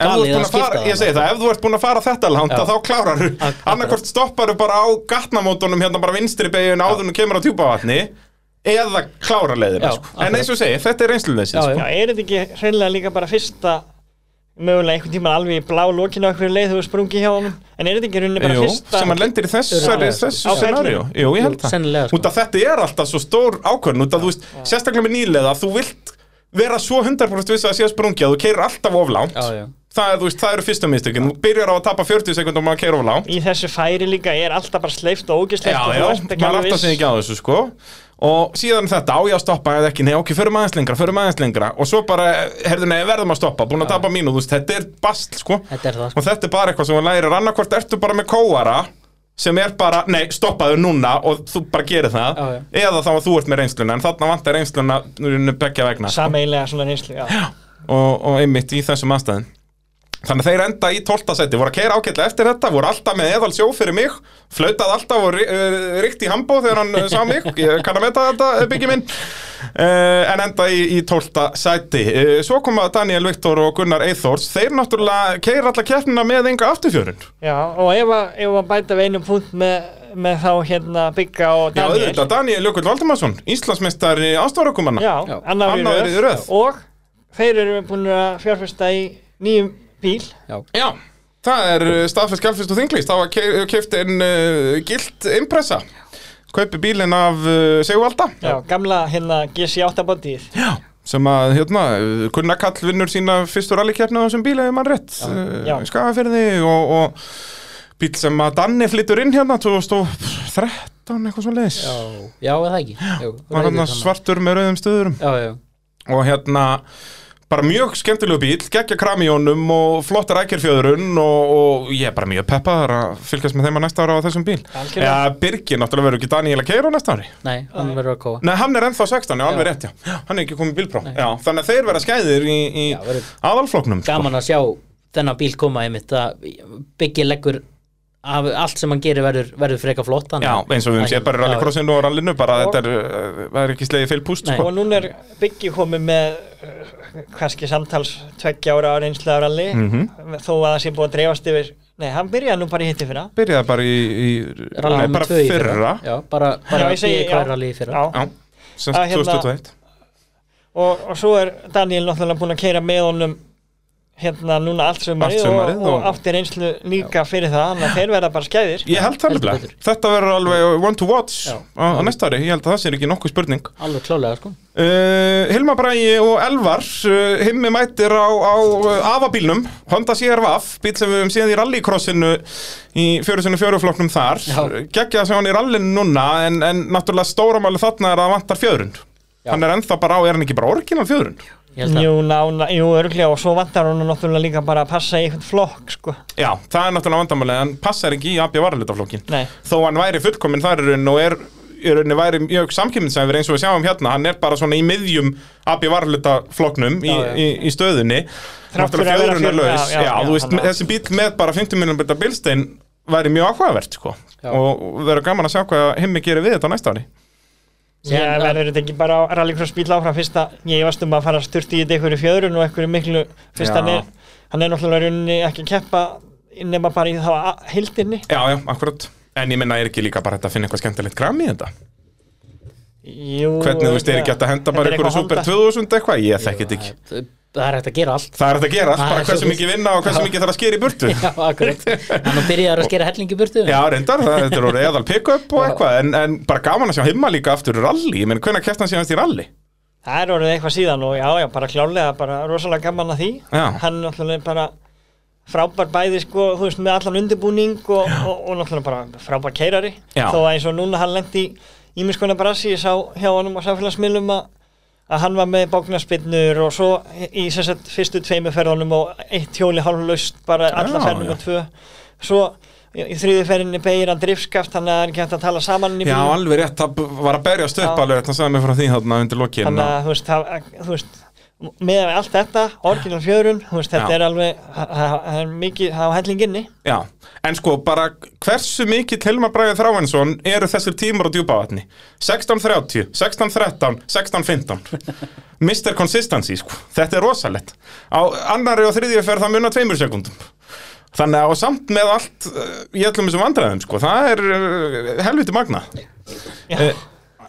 Ef þú ert búin
galið að
að
skipta
fara, ég segi það, ef þú ert búin að fara þetta langt
Já.
að þá klárar þú,
Ak- akkurat.
annarkvort stopparu bara á gatnamótunum hérna bara vinstri begin áður en þú kemur á tjúpavatni eða klára leiðina
Já,
sko. en eins og ég segi, þetta er reynsluleysið
Já,
sko.
Já, er þetta ekki hreinlega líka bara fyrsta mögulega einhvern tímann alveg í blá lokinu á einhverju leið þú sprungi hjá honum en er þetta ekki rauninni bara
Jú,
fyrsta
sem hann lendir í þessu,
Já, já,
þessu
á
scenaríu
ferlinum.
Jú, ég held
Jú,
það
sennilega, sko.
Út af þetta er alltaf svo stór ákvörn Út af þú veist, sérstaklega með nýlega Þú vilt vera svo 100% viss að það sé að sprungi að þú keirir alltaf of langt
Já, já.
Það, er, þú veist, það eru fyrstu mistökin Þú byrjar á að tapa 40 sekundum og maður keir of langt
í þessu færi líka er alltaf bara sleift og ógisleift
Já,
og
já,
þú ert ekki
maður
alveg
alltaf sig
viss
ekki á þessu sko Og síðan þetta, á ég að stoppa eða ekki, nei ok, förum aðeins lengra, förum aðeins lengra Og svo bara, herðu nei, verðum að stoppa, búin að tapa mínu, þú veist, þetta er bast sko
Þetta er það, sko.
og þetta er bara eitthvað sem hún lærir annarkvort ertu bara með kóara sem er bara, nei, stoppaðu núna og þú bara gerir það
Já, já.
eða þá að þú ert með reynsluna, en þarna vantar reynsluna nú begja vegna sko.
sameilega svona reynslu já.
og, og einmitt í þessum aðstæðin þannig að þeir enda í 12. seti voru að keira ágætlega eftir þetta, voru alltaf með eðal sjó fyrir mig, flautaði alltaf og uh, ríkt í hambó þegar hann uh, sá mig ég kann að meta þetta, uh, byggi minn uh, en enda í, í 12. seti uh, svo koma Daniel Viktor og Gunnar Eithors, þeir náttúrulega keira alla keppnina með enga afturfjörund
já, og ef að, ef að bæta við einum punkt með, með þá hérna Bigga og
Já,
Daniel
auðvitað, Daniel Jökull Valdimarsson, Íslandsmeistari ástofarakumanna.
já,
Já.
annar í
Annar í
röð.
röð.
og þeir eru búin að fjárfesta í nýjum bíl
Já. Það er uh, staðfest, gælfist og þinglist. Það var keift einn uh, gilt impressa. Kaupi bílinn af uh, Sigvalda.
já, gamla hérna GC8 bandið
Já. Sem að, hérna, uh, Gunnar Kall vinnur sína fyrstu rallikeppni á þessum bíl, ef mann rétt.
Já.
Skafafyrði og, og bíl sem að Danni flyttur inn hérna 2013, eitthvað svo leiðis.
Já, já, eða ekki. Jú,
Var
rauður
hérna
þarna.
svartur með rauðum stöðurum.
Já, já,
og hérna bara mjög skemmtilegu bíl, geggja kram í honum og flottar ækjörfjöðrun og, og ég er bara mjög peppaður að fylgjast með þeim að næsta ára á þessum bíl
Algjörlega.
Já, Birgir náttúrulega verður ekki Daniel að keira á næsta ári
nei, hann verður að kóa.
Nei, hann er ennþá 16, já,
Já.
alveg rétt, já Hann er ekki komið bílprá, já, þannig að þeir verða skæðir í, í
Já, verður
aðalfloknum sko.
gaman að sjá þennan bíl koma einmitt að byggja leggur af allt sem hann gerir verður, verður freka flott þannig
Já,
að-
eins og við
að-
höfum séð bara í
já,
rallycrossinu og rallinu bara
Og-
þetta er, uh, það er ekki slegið fylgpúst
Nei.
sko.
og núna er Biggi komið með eh, kannski samtals tveggja ára á reynslu af rally
Mhm.
þó að það sé búið að dreifast yfir nei, hann byrjaði nú bara í hitti fyrir
Byrjaði bara í, í
rally
nei,
númer
bara
tvö í
fyrra
Já, bara, bara
Já, ég segi,
BK
já.
rally í fyrra
Já,
Já, sem
Að hérna-
2021
og, og svo er Daniel náttúrulega búin að keira með honum hérna núna allt sumarið,
Allt sumarið
og, og
og-
átti reynslu líka fyrir það þannig að þeir verða bara skæðir
Ég held það
Heldur
nefnilega,
betur.
þetta verður alveg one to watch
Já.
á, á næsta ári, ég held að það sé ekki nokkuð spurning
Alveg klálega sko
uh, Hilma Bræi og Elvar uh, himmi mætir á, á uh, afabílnum Honda CRV, bíl sem við höfum séð í rallycrossinu í 44 flokknum þar
Já.
geggja sem hann í rallinu núna en, en náttúrulega stóramáli þarna er að það vantar fjöðrund
Já.
hann er ennþá bara á, er hann ekki bara orginal fjöðrund
Ég held að
Jú, nána, jú, örglega og svo vantar hann náttúrulega líka bara að passa í einhvern flokk sko.
Já, það er náttúrulega vandamáli, hann passar ekki í AB varalitaflokkin
Nei,
þó hann væri fullkominn þar í raun og er í rauninni væri mjög samkjömminsæfur eins og við sjáum hérna, hann er bara svona í miðjum AB varluta flokknum í,
Já, já.
í, í stöðunni
Þrátt
Náttúrulega
fyrir að vera
fjöðrun er
fjör-
laus.
já, já,
Já,
já,
þú veist,
þannig að-
þessi bíl með bara 50 miljón byrta bílstein væri mjög áhugavert sko.
Já.
og verður gaman að sjá hvað himmi gerir við þetta á næsta ári
ég
Síðan-
verður þetta ekki bara á rallycross bíl áfram fyrst að ég varst um að fara að styrti í þetta einhverju fjöðrun og einhverju miklu
Já.
fyrst hann er, hann er náttúrulega í rauninni ekki að keppa nema bara í þá a- heildinni
Já, já, akkurat En ég minna er ekki líka bara þetta að finna eitthvað skemmtilegt gram í þetta
Jú,
Hvernig þú veist, er ekki hægt að henda bara
Þetta er
einhverju
eitthvað
Super 2000 eitthvað, ég þekki þetta ekki
Það það er hægt að gera allt
Það er þetta að gera,
Það
bara
er svo-
hversu mikið vinna og hversu mikið þarf að skera í burtu
Já, akkurat Þannig byrjaður að skera hellingi burtu
Já, reyndar, það þetta eru eðal pick-up og eitthvað en, en bara gaman að sjá himma líka aftur í rally Ég menn, hvenær kæft hann síðanst í rally?
Það er orðið eitthvað síðan og já, já, bara klálega, bara rosalega gaman að því.
Já.
Hann er náttúrulega bara frábær bæði, sko, þú veist, með allan undirbúning og, og, og náttúrulega bara frábær keirari.
Já.
Þó að eins og núna hann lendi í ímiskona brasi, ég sá hjá honum á samfélagsmiðlum að að hann var með bóknarspinnur og svo í sem sagt fyrstu tveimu ferðunum og eitt hjóli hálflaust bara alla
Já,
ferðunum
já.
og tvö svo í í þriðju ferðinni beigir hann driftskaft þannig að hann er ekki hægt að tala saman í
Já,
bílnum.
alveg rétt, það b- var að berja stöp
Já.
alveg rétt, hann sagði mig frá því þarna undir lokin
þannig að þú veist, það, þú veist með allt þetta, orginal fjörun þú veist, þetta
Já.
er alveg það- það það er mikið, það á hellinginni
Já, en sko, bara hversu mikið Hilma Bræði Þráinsson eru þessir tímar á djúpavatni? 16.30, 16.13, 16.15 Mr. Consistency, sko, þetta er rosalett Á annari og þriðju ferð það munar tveimur sekundum Þannig að og samt með eh, allt uh, í öllum þessum vandræðum, sko, það er uh, helviti eh, magnað
Já.
Eh, uh,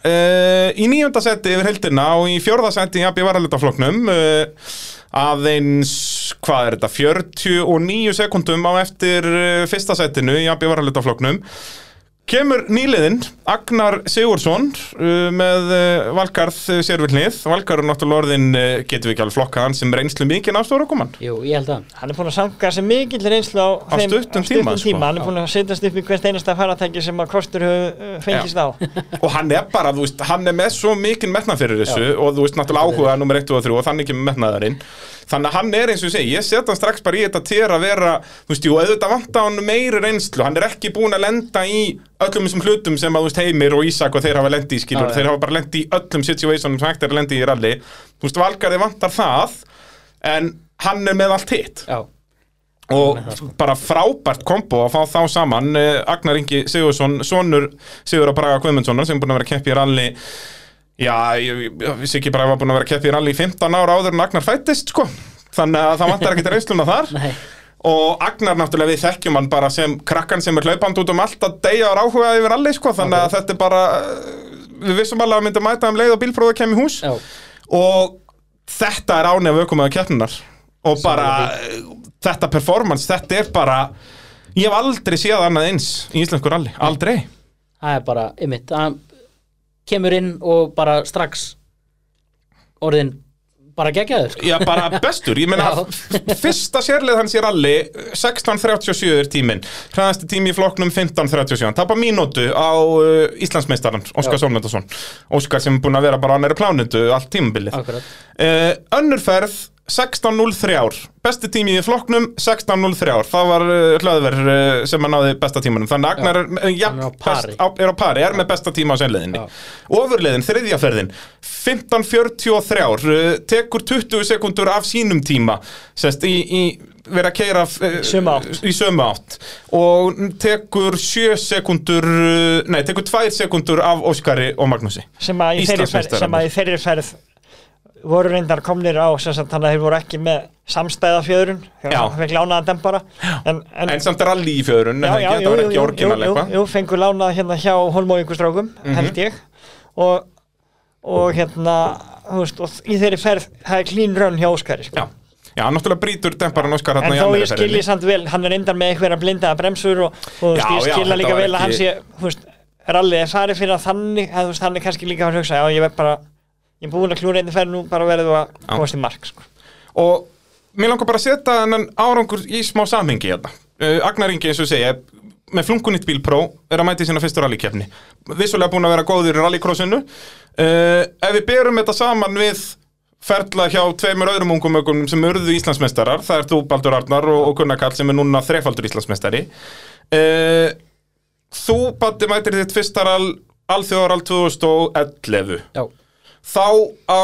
í nýjönda seti yfir heldina og í fjórða seti í AB varalitafloknum uh, aðeins, hvað er þetta, 49 sekundum á eftir uh, fyrsta setinu í AB varalitafloknum Kemur nýliðinn, Agnar Sigursson uh, með uh, Valgarð Sérvilnið. Valgarð er náttúrulega orðin, uh, getum við ekki alveg flokkað hann sem reynslu mikið náttúrulega komann.
Jú, ég held að
Hann er búin að sanga sem mikill reynslu á,
Á stuttum tíma, sko.
Hann er búin að setjast upp í hvert einasta faratæki sem að kostur höf, fengist á
Og hann er bara, þú veist, hann er með svo mikinn metnað fyrir þessu og þú veist náttúrulega áhuga nummer 1 og 3 og þannig kemur metnaðarinn. Þannig að hann er eins og ég segi, ég set hann strax bara í þetta til að vera, þú veist, jú, auðvitað vanta hann meiri reynslu, hann er ekki búin að lenda í öllum þessum hlutum sem að, þú veist, Heimir og Ísak og þeir hafa lendi í skilur,
Já, já.
þeir hafa bara lendi í öllum situationum sem hægt er að lendi í rally. Þú veist, Valgarði vantar það, en hann er með allt hitt
Já,
og
Með það, sko.
bara frábært kombo að fá þá saman eh, Agnar Ingi Sigursson, sonur Sigur að Braga Guðmundssonar sem er búin að vera að keppi í ralli já, ég, ég, ég vissi ekki bara að var búin að vera að keppi í ralli í 15 ára áður en Agnar fættist sko þannig að það vantar ekkert reynsluna þar
nei,
og Agnar náttúrulega við þekkjum hann bara sem krakkan sem er hlaupand út um allt að deyja á ráhuga yfir ralli sko þannig að þetta er bara eh, við vissum alveg að hann myndi mæta um leið og bílpróðu kem í hús
já,
og þetta er ánef aukumæðu keppnunar og bara þetta performance, þetta er bara ég hef aldrei séð annað eins í íslensku rally, aldrei
það er bara ymmit, hann kemur inn og bara strax orðin bara geggjaður sko.
Já, bara bestur, ég meina
Já.
f- fyrsta sérlið hans í rally 16.37 er tíminn, hraðasti tími í flokknum 15.37, tapar mínútu á uh, Íslandsmeistaran, Óskar
Já.
Sólmundarsson Óskar sem er búin að vera bara á annari plánundu allt tímabilið
Akkurat,
Uh, önnur ferð 16.03 ár Besti tími í flokknum 16.03 ár Það var uh, hlöðverð uh, sem að náði besta tímanum Þannig að Agnar er, uh, ja,
Hann er á
best,
pari.
á, er á pari Er með besta tíma á sennleðinni
Já.
Ofurleðin, þriðja ferðin 15.43 ár uh, Tekur 20 sekundur af sínum tíma Sest í, í vera að keira uh,
Sömu átt.
í sömu átt og tekur 7 sekundur uh, nei, tekur 2 sekundur af Óskari og Magnúsi
sem að í þeirri ferð, sem að í þeirri ferð voru reyndar komnir á sem sagt þannig að þeir voru ekki með samstæða fjöðrun þegar
Já.
hann fekk lánaðan dempara en, en,
En samt er allir í fjörun, en ekki, þetta var ekki orginal
jú,
eitthvað
jú, fengur lánað hérna hjá holmóingustrákum,
Mhm.
held ég og, og hérna þú veist, og í þeirri ferð það er clean run hjá Óskari sko.
Já, já, hann náttúrulega brýtur demparan Óskar
en
hérna í
þó
annari
ég skilji
ferðinni
samt vel, hann er reyndar með einhverja blindaða bremsur og, og þú veist,
Já,
ég
já,
skilja
þetta
líka
var
vel að hann
ekki-
sé þú veist, rallið er farið fyrir að þannig að, þú veist, hann er kannski líka að hugsa já, ég verð bara, ég er búin að klúra einni ferð nú bara verður þú að
Já.
komast í mark sko.
Og mér langar bara að setja þennan árangur í smá samhengi hérna uh, Agnar Ingi, eins og segja, með flunkunitt bílpró er að mæti sína fyrstu rallykefni Vissulega búin að vera góður í rallycrossinu uh, Ef við berum þetta saman við ferla hjá tveimur öðrum ungum ökunum sem urðu Íslandsmeistarar, það er þú Baldur Arnar og, og Gunnar Karl sem er núna þrefaldur Íslandsmeistari uh, Þú, Batti, mætir þitt fyrstaral alþjóðaral 2011
já,
þá á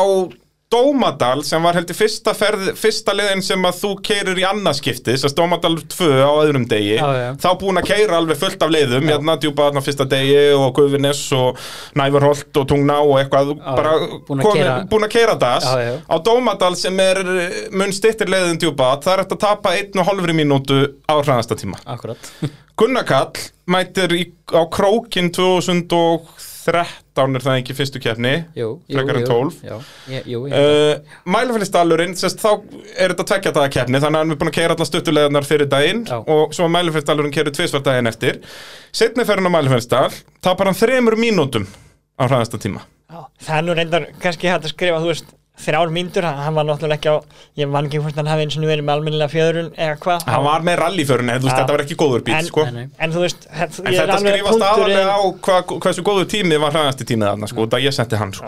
Dómadal sem var heldur fyrsta, ferð, fyrsta leiðin sem að þú keirir í annarskipti þess að Dómadal 2 á öðrum degi
Já, já.
þá búin að keira alveg fullt af leiðum hérna djúpa þarna fyrsta degi og Guðvinnes og Nævarholt og Tungná og eitthvað já, bara
búin að keyra-
búin að keira das
Já, já.
á Dómadal sem er eh, mun stittir leiðin djúpa það er hægt að tapa einn og hálfri mínútu á hraðasta tíma
akkurat
Gunnar Kall mætir í, á Krókin 2013 er það ekki fyrstu keppni
Jú, jú,
Frekar en
jú,
12.
Já, ég- jú, ég-
Uh, Mælifellistallurinn, sérst, þá er þetta tvekja daga keppni, þannig að hann er búin að keira allar stuttulegarnar fyrir daginn
Já.
og svo að Mælifellistallurinn keirir tvisvar daginn eftir setni fer hann á Mælifellistall tapar hann þremur mínútum á hraðasta tíma
Já, það er nú reyndar kannski hægt að skrifa þú veist, þrjár mínútur, hann- hann var náttúrulega ekki á ég man ekki hvort hann hafi eins og verið með alminnilega fjöðrun eða hvað
hann var með rallyförun, þú veist,
Já.
þetta var ekki góður bíl
en,
sko.
Nei, nei.
en þú veist þetta,
en þetta skrifast aðalega á hva, hversu góður tími var hraðasti tímið þarna, sko, það ég setti hann sko.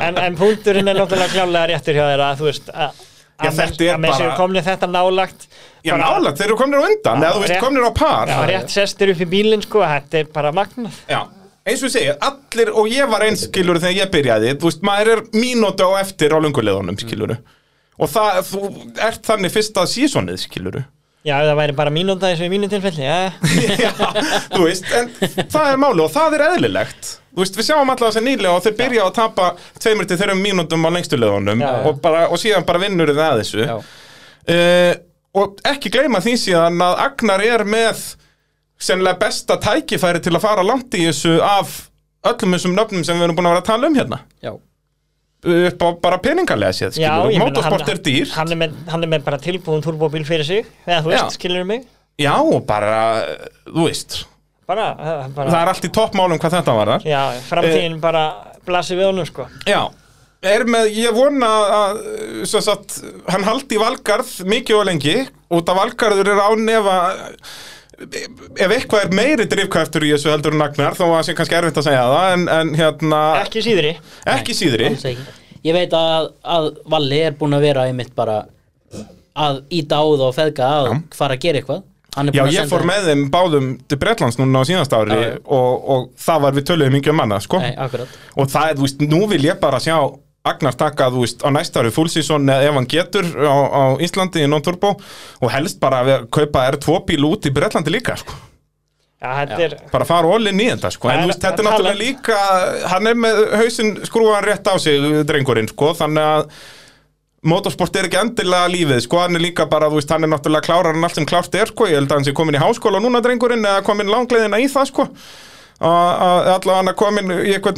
en, en punkturinn er náttúrulega klálega réttur hjá þér að þú veist að
Já,
að
þetta
menn-
er
að menn séu
bara-
komnir þetta nálagt
já,
bara-
nálega, þeir eru komnir á undan eða þú veist,
rétt.
komnir á par
já, rétt sestur upp í bílinn sko þetta er bara magnað
Já, eins og ég segi, allir og ég var einskilur þegar ég byrjaði þú veist, maður er mínúti á eftir á lunguleðunum, skiluru og það, þú ert þannig fyrsta sísonið, skiluru
já ef það væri bara mínúnda eins og í mínu tilfelli já,
Já, þú veist, en það er máli og það er eðlilegt Þú veist, við sjáum allavega þess að nýlega og þeir byrja að tapa tveimur til þeirrum mínútum á lengstu leðunum
Já, já.
og, bara, og síðan bara vinnur þeir að þessu
já,
uh, og ekki gleyma því síðan að Agnar er með sennilega besta tækifæri til að fara langt í þessu af öllum þessum nöfnum sem við erum búin að vera að tala um hérna
já,
upp á bara peningalega séð
Já,
skilur,
ég meina,
motorsport
hann-
er dýr
hann er, með, hann er með bara tilbúin turbóbíl fyrir sig eða þú veist,
Já.
skilur mig
já, og bara, þú veist
bara, eh, bara
það er allt í toppmálum hvað þetta var þar
já, framtíðin bara blasir við honum sko
já, er með, ég vona að sem sagt, hann haldi í Valgarð mikið og lengi út af Valgarður er án nefa ef eitthvað er meiri drifkræftur í þessu heldur en Agnar, þó að það sé kannski erfitt að segja það en, en hérna,
ekki síðri
ekki síðri
alls ekki ég veit að, að Valli er búin að vera einmitt bara að íta á það og feðga að fara að gera eitthvað Hann er
Já,
búinn að
ég
senda-
fór með þeim báðum til Bretlands núna á síðast ári
Já, já.
og, og það var við töluðum mingið um annað, sko
Nei, akkurat
og það er, þú veist, nú vil ég bara sjá Agnar taka, þú veist, á næsta ári fullsísón eða ef hann getur á, á Íslandi í non-turbo og helst bara að vera- kaupa R2 bíl út í Bretlandi líka, sko
já, þetta er
bara fara ólinn í þetta, sko en
Það
þú
er-
veist, þetta er
talent.
náttúrulega líka hann er með hausinn skrúan rétt á sig drengurinn, sko, þannig að motorsport er ekki endilega lífið, sko, hann er líka bara, þú veist, hann er náttúrulega klárar en allt sem klárt er, sko, ég held að hann sé komin í háskóla núna drengurinn eða komin langleiðina í það, sko að allavega hann er komin í eitthvað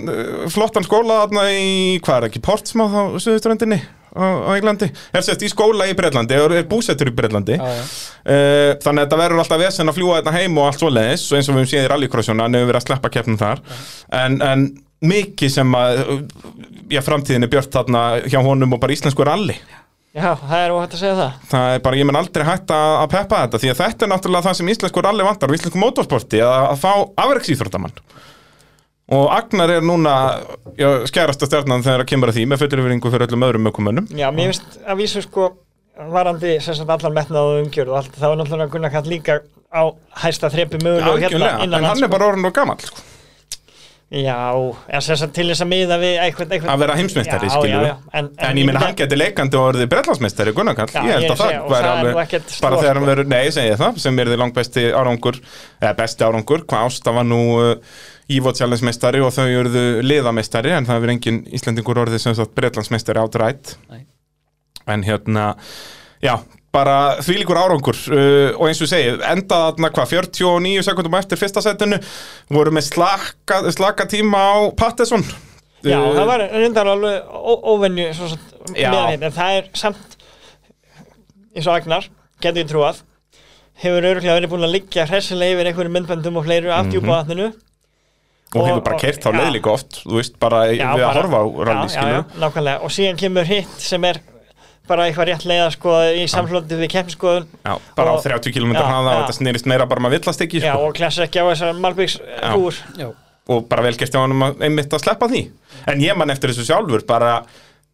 flottan skóla þarna í, hvað er ekki, Portsmouth á Suðuströndinni á, á Englandi, er sérst í skóla í Breitlandi, er, er búsettur í Breitlandi
Já, já.
Eh, þannig að þetta verður alltaf vesen að fljúa þetta heim og allt svoleiðis og eins og við höfum séð í rallycrossjónu hann hefur verið að sleppa keppnum þar en, en mikið sem að já, framtíðin er björt þarna hjá honum og bara íslensku rally
já, það er óhætt að segja það
það er bara, ég menn aldrei hægt að að peppa þetta því að þetta er náttúrulega það sem íslensku rally vantar og íslensku motorsporti að, að fá afreksýþróttamann og Agnar er núna já, skærasta stjarnan þegar að kemur að því með fullur yfiringu fyrir öllum öðrum ökumönnum
Já, mér finnst að vísu sko varandi sem sagt allan metnað og umgjörð og allt, þá er náttúrulega Gunnar Kall líka á hæsta þrepi mögulega hérna
Algjörlega,
innan
en hann er bara orðin og gamall sko.
Já, en sem sagt til þess að miða við eitthvað, eitthvað
að vera heimsmeistari,
Já,
skilurðu.
já, já, en,
En ég meina hann geti leikandi og orðið bretlandsmeistari Gunnar Kall,
Já,
ég held
ég
að það
segi, og
væri
það er nú
alveg
ekkert stórt,
bara þegar hann
sko.
verður, nei, segi ég það, sem er þið langbesti árangur, eða besti árangur hvað ásta var nú uh, Ívo Challenge-meistari og þau eruðu liðameistari en það er engin Íslendingur orðið sem sagt bretlandsmeistari átrætt
Nei.
en hérna, já bara þvílíkur árangur uh, og eins og ég segi, endað þarna hvað 49 sekundum eftir fyrsta setinu voru með slaka, slaka tíma á Uh, Pattesson
Já, það var reyndar alveg ó- óvenju svo sagt,
Já.
miðað við, en það er samt eins og Agnar, getur ég trúað hefur örgulega verið búin að liggja hressilega yfir einhverjum myndböndum og fleiru af
Mhm.
djúpaðatninu
og
Og-
hefur bara
og-
kert þá
já.
leið líka oft þú veist bara já, við að horfa á rally
já, já,
skilur
já, nákvæmlega, og síðan kemur hitt sem er bara eitthvað rétt leiða sko í samflóti við kemskoðun
já, bara á
Og-
30 km
já,
hraða og
já.
þetta snýrist meira bara maður villast ekki
já,
sko,
og klessa ekki á þessar Malbyggs úr
Já,
og bara vel gert hjá hann einmitt að sleppa því en ég man eftir þessu sjálfur bara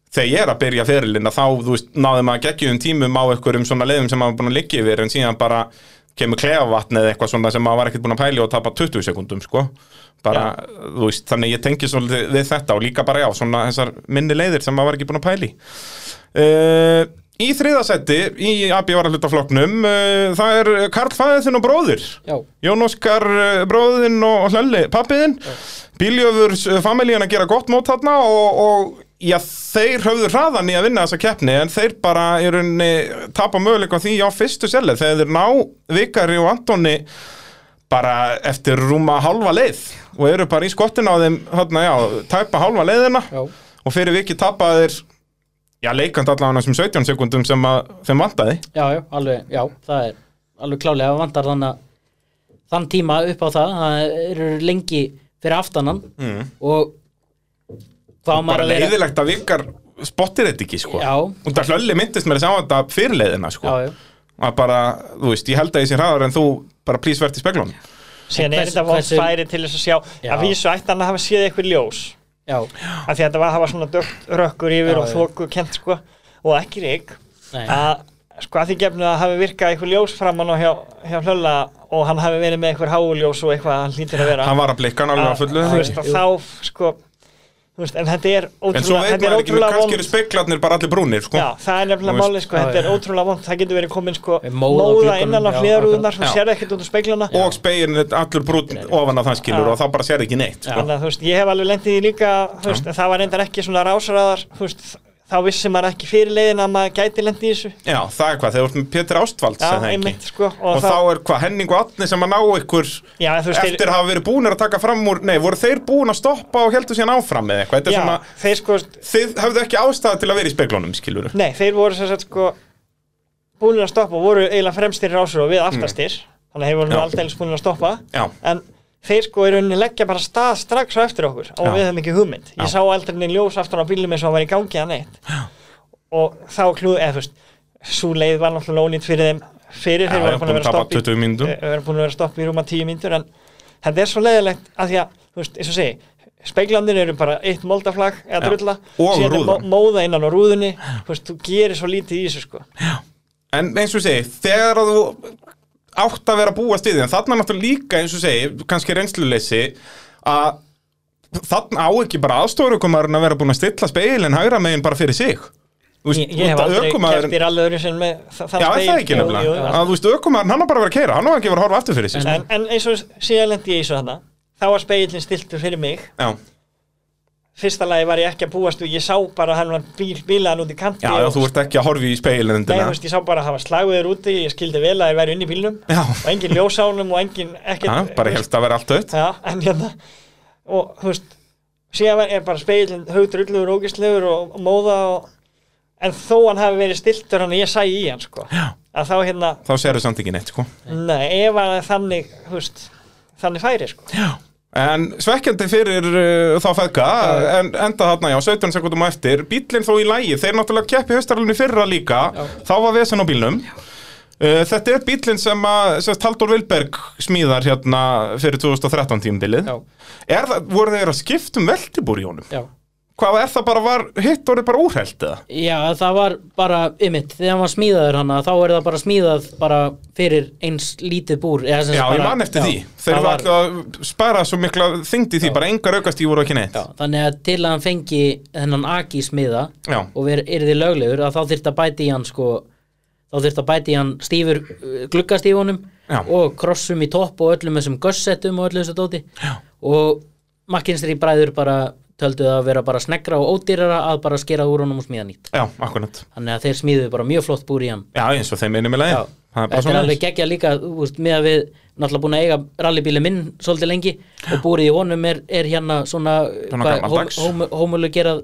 þegar ég er að byrja ferilina þá þú veist, náðum að geggjum tímum á einhverjum svona leiðum sem maður búin að liggja yfir en síðan bara kemur klefavatn eða eitthvað svona sem maður var ekkert búin að pæli og tapa 20 sekundum sko bara, þú veist, þannig ég tengi svolítið við þetta og líka bara já, svona þessar minni leiðir sem maður var ekki búin að pæli Uh, í þriðasetti í AB varahlutafloknum uh, það er Karl Fæðin og bróðir
já,
Jón Óskar uh, bróðin og Hlölli pappiðin Bíljöfur uh, familíin að gera gott mót þarna og, og já, þeir höfðu hraðan í að vinna þessa keppni en þeir bara í rauninni tapa möguleika á því á fyrstu selli þegar þeir ná Vikari og Antoni bara eftir rúma hálfa leið og eru bara í skottin á þeim þarna, já, tæpa hálfa leiðina
já,
og fyrir vikið tapaðir já, leikand allavega sem 17 sekundum sem að þeim vantaði
já, já, alveg, já, það er alveg klálega að vantar þann að þann tíma upp á það, það eru lengi fyrir aftanan mm. og hvað á maður
bara
að vera
leiðilegt að vikar spottir þetta ekki sko
Já.
og það hlölli myndist mér að sjá þetta fyrir leiðina sko
Já, já,
að bara, þú veist, ég held að ég sé hraðar en þú bara plís verðt í speglunum
síðan er
Hvers-
þetta vond
hversu-
færi til þess að sjá
Já.
að vísu ætti hann að hafa séð eitthvað ljós
já,
af því að þetta var að hafa svona dögt rökkur yfir
Já,
og
já.
þóku kent sko og ekki rík
nei,
Eh.
að sko að því gefnu að hafi virkað eitthvað ljós framann og hjá, hjá hlölla og hann hafi verið með eitthvað háuljós og eitthvað að hann hlýtir að vera
hann var að blikka hann alveg að fullu
Að- þú veist, að
Jú.
þá sko þú veist, en þetta er
en svo
ótrúlega
veit
þetta er
maður ekki,
ótrúlega
kannski
vond
eru speglarnir bara allir brúnir sko
Já, það er nefnilega
Þú veist.
málið sko, þetta
Já,
er
já.
ótrúlega vond það getur verið komin sko
Móða á
móða
gluggunum,
innan á
um- já,
hliðarúðunar þú
akkurat.
sér ekkert út úr speglana
og speglinn er allur brún ofan að það skilur
Já.
og þá bara sér ekki neitt sko.
þannig að þú veist, ég hef alveg lendið í því líka þú veist, en það var reyndar ekki svona rásraðar þú veist, þá vissi maður ekki fyrir leiðin að maður gæti lendi í þessu
Já, það er hvað, þegar þú ert með Pétur Ástvalds
Já,
er það ekki?
einmitt, sko, og
og,
þá-
þá er hvað, Henning og Atni sem að ná ykkur
Já, en þú veist, þeir-
eftir að hafa verið búnir að taka fram úr nei, voru þeir búin að stoppa og heldur síðan áfram eða eitthvað, þetta er
Já,
svona
þeir sko,
þið hafðu ekki ástæða til að vera í speglunum, skilur
nei, þeir voru sem sagt sko búinir að stoppa, voru eiginlega fremstir rásur og við aftastir, þannig að þeir voru
Mm. Já.
alldeles búinir að stoppa,
Já.
en þeir sko í rauninni leggja bara stað strax á eftir okkur og
Já.
við höfum ekki hugmynd, ég
Já.
sá aldrei neinn ljós aftan á bílum eins og hann var í gangi að neitt Já. og þá klúðu, eða þú veist svo leið var náttúrulega ónýtt fyrir þeim fyrir,
Já,
þeir
já,
voru búin að
búin að
vera
tapa
að stoppa í-
20 mínútum.
eh, vera búin að vera að stoppa í rúma 10 mínútur en þetta er svo leiðilegt að því að, þú veist, eins og segi speglandir eru bara eitt moldaflag eða
Já.
drulla,
Og
síðan er
rúðan.
mó- móða innan á rúðunni, þú veist, þú gerir svo lítið í þessu sko,
en eins og ég segi, þegar að þú átt að vera að búa stiðin, þarna náttúrulega líka eins og ég segi, kannski reynsluleysi að þarna á ekki bara aðstofurukumarinn að vera búin að stilla speilin hægra megin bara fyrir sig Þú veist,
ég, ég hef
út að
aldrei
ökumaðurinn-
kert í alveg öðru sem með þa- þann
Já, er það
spegil,
ekki
jú,
nefnilega?
jú, jú,
Að þú veist, aukumaðurinn, hann var bara að vera að keira, hann var ekki að vera að horfa aftur fyrir sig.
en, en eins og síðan lendi ég í svo þarna þá var speilin stiltur fyrir mig
Já,
fyrsta lagi var ég ekki að búast og ég sá bara að hann var bíl, bílaðan út í kanti
já, já,
og
þú ert ekki að horfa í
Nei,
speilindina.
þú veist, ég sá bara að hafa slagviður úti, ég skildi vel að þeir væri inn í bílnum
Já.
og engin ljós á honum og engin ekkert,
Já, bara hérna helst að vera allt auðt.
Já, en hérna og þú veist, síðan var- er bara speilin haugdrullugur, ógislegur og og móða og, en þó hann hafi verið stiltur hann að ég sæ í hann, sko
Já.
að þá hérna,
Þá sérðu samt ekki neitt, sko.
nei, ef að þannig þú veist, þannig færi, sko
Já. En svekkjandi fyrir uh, þá feðka, en enda þarna, já, 17 sekundum á eftir, bílinn þó í lægi, þeir náttúrulega keppi höstaralunni fyrra líka, þá var vesen á bílnum. Uh, þetta er bílinn sem að, sem sagt, Halldór Vilberg smíðar hérna fyrir 2013 tímbilið.
Já.
Er það, voru þeir að skipta um veltibúr í honum?
já
Hvað er það bara var, hitt orðið bara úrhælt eða?
Já, það var bara, ymmit, þegar hann var smíðaður hann þá er það bara smíðað bara fyrir eins lítið búr eða sem
Já,
sagt
ég
bara-
man eftir
já,
því. Þeir
það
var alltaf að spara svo mikla þyngd í því, bara engar aukastíð voru ekki neitt.
já, Þannig að til að hann fengi þennan aki smiða
Já.
og verið yrði löglegur að þá þyrfti að bæti í hann sko þá þyrfti að bæti í hann stífur uh, gluggastífunum
Já.
og krossum í topp og öllum þessum gössettum og öllu þessu dóti já. og makkinstri bræður bara töldu það að vera bara snegra og ódýrara að bara skera úr honum og smíða nýtt
Já, akkurat.
þannig að þeir smíðu bara mjög flott búr í hann
Já, eins og þeim einu með leiði.
Já,
Það er bara
þetta er
svona
alveg geggja líka þú veist, með að við náttúrulega búin að eiga rallybíli minn svolítið lengi og búrið í honum er, er hérna svona
Svona gamaldags.
hómulu gerað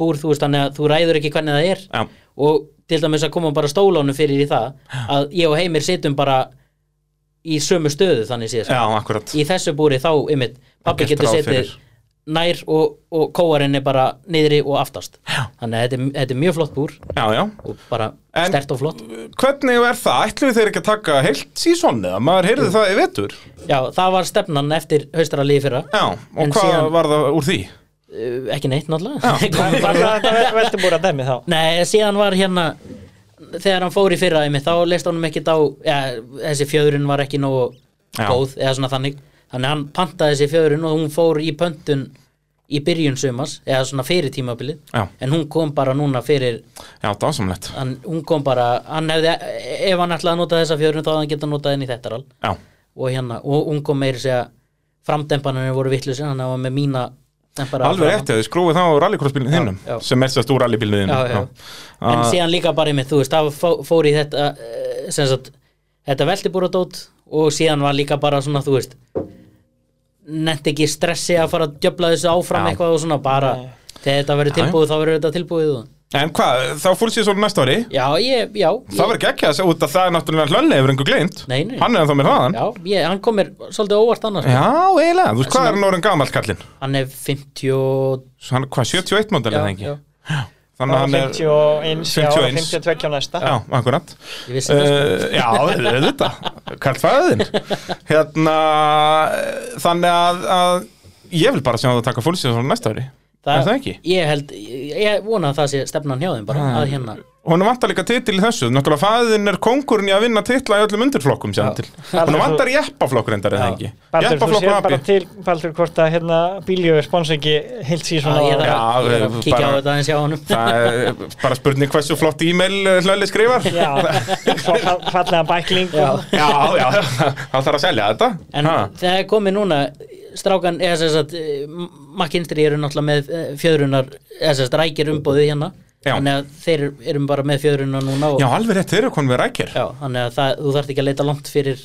búr þú veist þannig að þú ræður ekki hvernig það er
Já.
og til dæmis að koma bara stólánu fyrir í það að ég og Heimir sitjum bara í sömu stöðu þannig séð sko.
Já, akkurat.
í þessu búri þá ymmit pappi
gert
getur
ráð
setið
fyrir.
nær og, og kóarinn er bara niðri og aftast Já. þannig að þetta er, þetta er mjög flott búr
Já, já.
og bara
En-
stert og flott
Hvernig er það? Ætluðu þeir ekki að taka heilt sísón eða? Maður heyrði það í vetur.
Já, það var stefnan eftir haustaralíði fyrra
Já, og
En
hvað
síðan-
var það úr því?
uh, ekki neitt náttúrulega Kom
Var
bara-
það- þetta veltum búið að dæmi þá
Nei, síðan var hérna þegar hann fór í fyrra einmitt, þá leist honum ekkit á ja, þessi fjöðurinn var ekki nógu
Já.
góð eða svona þannig þannig hann pantaði þessi fjöðurinn og hún fór í pöntun í byrjun sömas eða svona fyrir tímabilið
Já.
en hún kom bara núna fyrir
Já, það var samlegt.
hann, hún kom bara, hann hefði ef hann ætlaði að nota þessa fjöðurinn þá hefði hann geta notað henni í þetta rall
Já,
og hérna, og hún kom meiri segja framdempanarnir voru vittlusir hann var með mína dempara
alveg
áfram.
rétt, þau skrúið það á rallycrossbílinu þinnum,
já.
sem er sérst úr rallybílinu
Já, já.
þinnum.
en
Ah.
síðan líka bara einmitt, þú veist, það fó- fór í þetta eh, sem sagt, þetta veltibúradót og síðan var líka bara svona, þú veist nett ekki stressi að fara að djöfla þessu áfram
Já.
eitthvað og svona bara, þegar þetta verður
Já, já.
tilbúið þá verður þetta tilbúið og...
En hvað, þá fúlst ég næsta ári?
já, ég, já
Það
ég,
var ekki ekki að segja út að það er náttúrulega hlönni hefur einhver gleymt
Nei, nei.
Hann er ennþá með hraðan Já,
já, ég, hann kom mér svolítið óvart annars sko.
eiginlega, þú veist hvað er hann orðin gamall kallinn
hann er 50 og-
Svo hann er hvað, 71 módel eða ekki
já,
Þannig að hann er,
51 já,
51.
52 á næsta
já, akkurat
ég vissi það sko.
Uh, já, auðvitað Karl Fæðin Hérna, þannig að, að Ég vil bara sjá það að taka fólksins á næsta ári Er það ekki?
ég held, ég, ég vona að það sé stefnan hjá þeim bara,
Ah.
að hérna
Hún vantar líka titil í þessu Náttúrulega Fæðin er konkurinn í að vinna titla í öllum undirflokkum
Já.
Hún vantar jeppaflokkur endar eða ekki
Baldur, þú
Jeppaflokkur
sér bara
abi
til Baldur hvort að hérna, bíljöfur spons ekki heilt síðan
að ég er
Já,
að, ég er að
við-
kíkja á
bara-
þetta aðeins hjá honum
Það er bara spurning hversu flott e-mail hlöli skrifar Já,
Já, svo fa- fallega bækling
Já.
og,
já, það þarf að selja þetta
En
ha.
það er komið núna strákan, eh, eða sess að makkinstri eru náttúrulega með eh, fjöðrunar, eða sess rækir umboðið hérna
Já.
þannig að þeir eru bara með fjöðruna núna og,
Já, alveg rétt, þeir eru konum við rækir
Já, þannig að það, þú þarft ekki að leita langt fyrir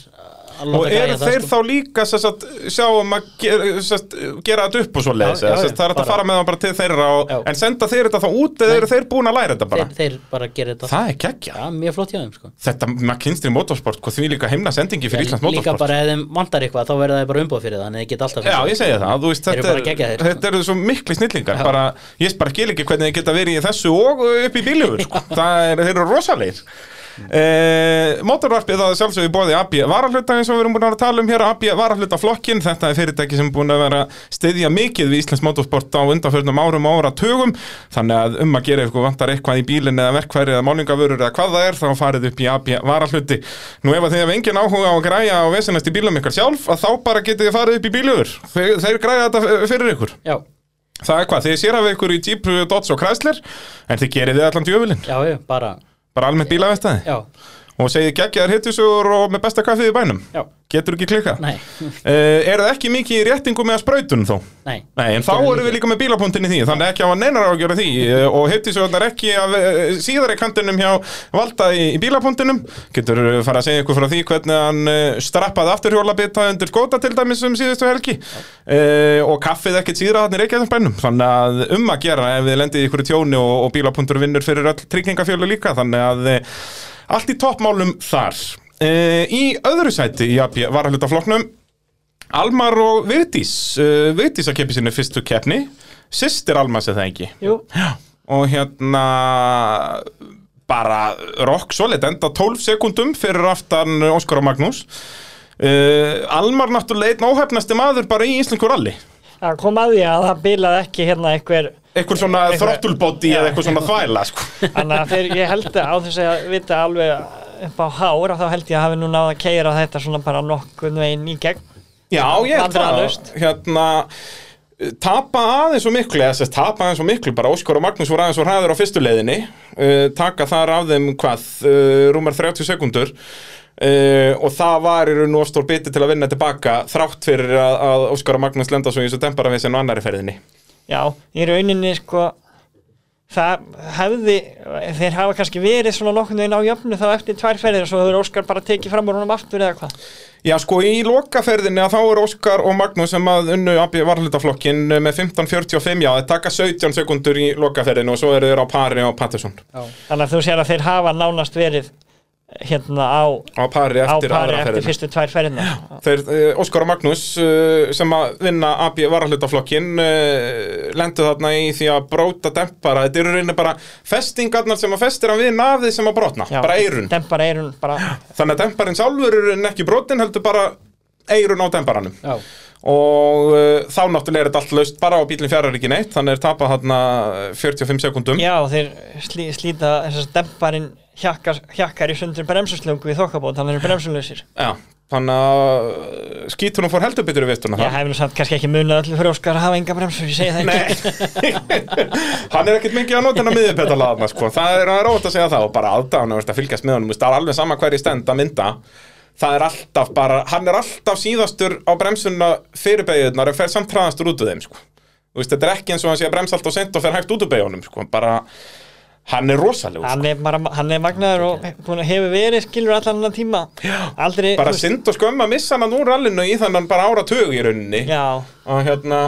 Og
að láta
eru
græja
þeir
sko.
þá líka sem sagt, sjá um að gera, sem sagt, gera þetta upp og svo leiðis?
Já, já, já,
Það er hægt að
bara-
fara með það bara til þeirra og,
Já.
en senda þeir þetta þá út eða eru þeir búin að læra þetta bara?
þeir, þeir bara gera þetta
það er kekkja.
Já, mjög flott hjá þeim sko.
Þetta McKinsey motorsport, hvað því líka heimna sendingi fyrir Íslands
Líka
motorsport?
bara ef þeim vantar eitthvað þá verða þeir bara umbóð fyrir það þannig að þeir geta alltaf
Já, ég segi það, þú veist,
Þeir eru
þetta,
bara
er,
geggjaðir, sko.
þetta eru svo mikli snillingar bara, ég bara skil ekki hvernig þið geta verið í þessu og upp í bíljöfur, sko. það er, þeir eru rosalegir Eh, mótorvarpið það er sjálfsögðu bóði AB varahluta eins og við erum búin að tala um hér AB varahluta flokkin, þetta er fyrirtæki sem er búin að vera að styðja mikið við Íslands motorsport á undanförnum árum og áratugum þannig að um að gera eitthvað vantar eitthvað í bílinn eða verkfæri eða málingavörur eða hvað það er þá farið upp í AB varahluti nú ef að þið hefur engin áhuga á að græja og vesinast í bílum ykkar sjálf að þá bara getið þið farið upp í bíljöfur þeir, þeir græja þetta f- fyrir ykkur
Já,
það er hvað, þið sér af ykkur í Jeep, Dodge og Chrysler en þið gerið þið allan djöfulinn
já, já, bara
bara almennt bílavestaði
Já,
og segið geggjaðar hittisögur og með besta kaffið í bænum
já,
getur ekki klika uh,
nei,
er það ekki mikið í réttingu með að sprautun þó
nei
Nei, en þá erum við líka með bílapunktin í því þannig ekki að hafa neinar á að gera því eh, og hittisögurnar ekki af eh, síðari kantinum hjá Valda í, í bílapunktinum getur eh, fara að segja ykkur frá því hvernig hann eh, strappaði afturhjólabita undir skóta til dæmis um síðustu helgi uh, og kaffið ekkert síðra hann í Reykjavík bænum þannig að um að gera ef við lendið ykkur í tjóni og, og bílapunktur vinnur fyrir öll tryggingafjölu líka þannig að eh, allt í toppmálum þar uh, í öðru sæti í AP varalutafloknum Almar og Vigdís uh, Vigdís að keppi sinni fyrstu keppni Systir Almars er það ekki
Jú,
Og hérna Bara rock solid Enda 12 sekundum fyrir aftan Óskar og Magnús uh, Almar náttúrulega einn óhefnasti maður Bara í Íslengur rally
það kom að því að það bilaði ekki hérna einhver
Eitthvað svona
Eitthvað-
þrottulbóti
Já.
eða eitthvað svona þvæla sko.
Þannig að þegar ég held að á þess að vita alveg upp á hár þá held ég að hafi nú náða að keira þetta svona bara nokkuð veginn í gegn
Já, ég held það
Vandræðalaust.
Hérna tapa aðeins og miklu eða sérst tapa aðeins og miklu bara Óskar og Magnús voru aðeins og hraður á fyrstu leiðinni uh, taka þar af þeim hvað uh, rúmar 30 sekundur uh, og það var í raun og stór biti til að vinna tilbaka þrátt fyrir að, að Óskar og Magnús lenda svo í þessu temperavesen og annari ferðinni
Já, í rauninni sko það hefði þeir hafa kannski verið svona nokkuð veginn á jöfnu þá eftir tvær ferðir og svo hefur Óskar bara tekið fram úr honum aftur eða hvað
Já, sko, í lokaferðinni að þá er Óskar og Magnús sem að unnu AB varhlutaflokkin með 15.45, já, þeir taka 17 sekundur í lokaferðinu og svo eru þeir á pari á Patterson
Já,
Þannig að þú sér að þeir hafa nánast verið hérna á,
á pari
á
eftir
pari
aðra
eftir
ferðina
fyrstu tvær ferðina
Þeir, uh, Óskar og Magnús uh, sem að vinna AB varalutaflokkin uh, lendu þarna í því að bróta dempara, þetta eru reyni bara festingarnar sem að festir hann við nafið sem að brotna,
Já,
bara eirun
Dempar eirun, bara
þannig að demparinn sjálfur eru en ekki brotin heldur bara eirun á demparanum
já,
og uh, þá náttúrulega er þetta allt laust bara á bílinn fjarar ekki neitt, þannig er tapað þarna eh, 45 sekundum
Já, þeir slí, slíta þess að demparinn hjakkar, hjakkar í sundur bremsuslöngu í þokkabót, þannig að þeir eru bremsulösir
Já, þannig að uh, skítunum fór heldur betur í vittuna
Ég hef nú samt kannski ekki munið öllu fyrir Óskar að hafa enga bremsur, ég segi það ekki
hann er ekkert mikið að nota hann að miðjupetalaðna sko. það er rátt að segja það og bara aðdána að fylgjast með honum, Þú veist, það er alveg sama hverju stend að mynda það er alltaf bara, hann er alltaf síðastur á bremsuna fyrir beigðunar en fer samt hraðastur út úr þeim sko. Þú veist, þetta er ekki eins og hann sé að bremsa alltaf sent og fer hægt út úr beigunum sko. bara, hann er rosalegur sko.
hann er, bara, hann er magnaður og búin að hefur verið skilur allan hann tíma aldrei,
bara
þú veist,
synd og skömm að missa hann úr rallinu í þannig bara áratug í rauninni
já,
og hérna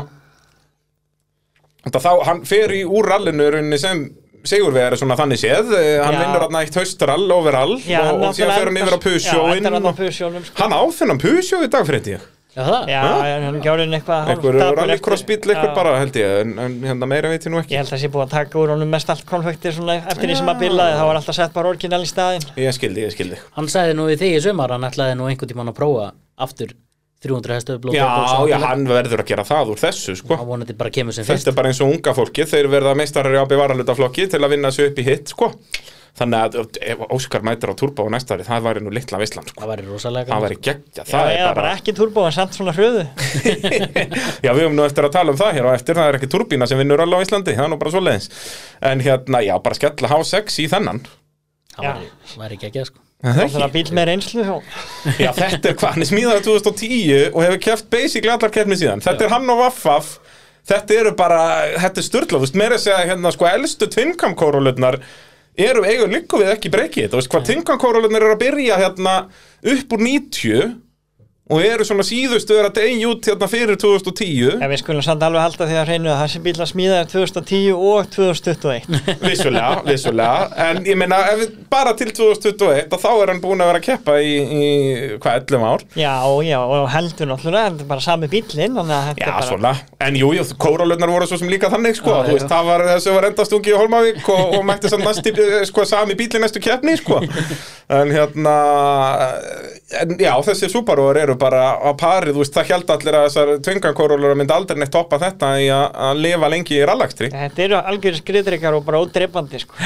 þetta þá, hann fer í úr rallinu í rauninni sem sigurvegari svona þannig séð, Eh, hann
Já.
vinnur hann eitt haustrall overall
já,
og, og síðan fer hann yfir á
já,
pusjóin
endar hann á
og...
pusjónum sko.
hann á þennan pusjó í dag fyrir ég
já það
já,
Ha?
en hann gjár henni eitthvað hálf
einhver
dapur
rallycross
eftir-
bíl, einhver
já.
bara held ég en, en hérna meira veit ég nú
ég
ekki
held að það sé búið að taka úr honum mest allt konfektir svona eftir því sem að bilaði, þá var alltaf sett bara orginal í staðinn
ég skildi, ég skildi
Hann sagði nú við þig í sumar hann ætlaði nú einhvern tímann að prófa aftur 300 hestu blóð
já, já, hann verður að gera það úr þessu sko.
Hann vonandi bara kemur sem fyrst
þetta er bara eins og unga fólki þeir verða meistarar í AB varalutaflokki til að vinna sig upp í hitt sko. þannig að ef Óskar mætir á turbo á næsta ári það væri nú litla vislan sko.
Það væri rosalega
það
gaman.
væri geggja,
já,
það
eða
er bara
bara ekki turbo, en samt svona hröðu
Já, við höfum nú eftir að tala um það hér og eftir, það er ekki turbína sem vinnur alveg á Íslandi, það er nú bara svoleiðis. En hérna, já, bara skella H6 í þennan.
Það
Já.
væri, væri ekki ekki sko.
Er það
svona
ekki?
bíl með reynslu og
Já, þetta er hvað, hann er smíðaður 2010 og hefur keft basically allar keppni síðan. Þetta er hann og Vaffaf, þetta eru bara, þetta er styrla, þú veist, meira að segja hérna, sko, elstu tvinnkamkórólutnar eru eigu líku við ekki breykið, þú veist, hvað tvinnkamkórólutnar eru að byrja hérna upp úr 90 og eru svona síðustu er að degi út hérna fyrir 2010
En við skulum samt alveg halda því að reynu að þessi bíl að smíða er 2010 og 2021
vissulega, vissulega en ég meina, ef við bara til 2021 að þá er hann búin að vera að keppa í, í hvað, 11 ár
Já, já, og heldur náttúrulega, þetta er bara sami bílinn þannig að þetta
Já,
er bara
svona, en jú, jú kóralöfnar voru svo sem líka þannig, sko
Já,
þú
já.
veist, það var þessu var endastungi í Holmavík og, og mætti samt næsti, sko, sami bíli næstu keppni, sko en hérna en já, þessi súparúar eru bara á pari, þú veist, það held allir að þessar tvingankóralöfnar myndi aldrei neitt toppa þetta í að að lifa lengi í rallakstri
Þetta eru algjörðu skriðdreikar og bara ódreifandi sko.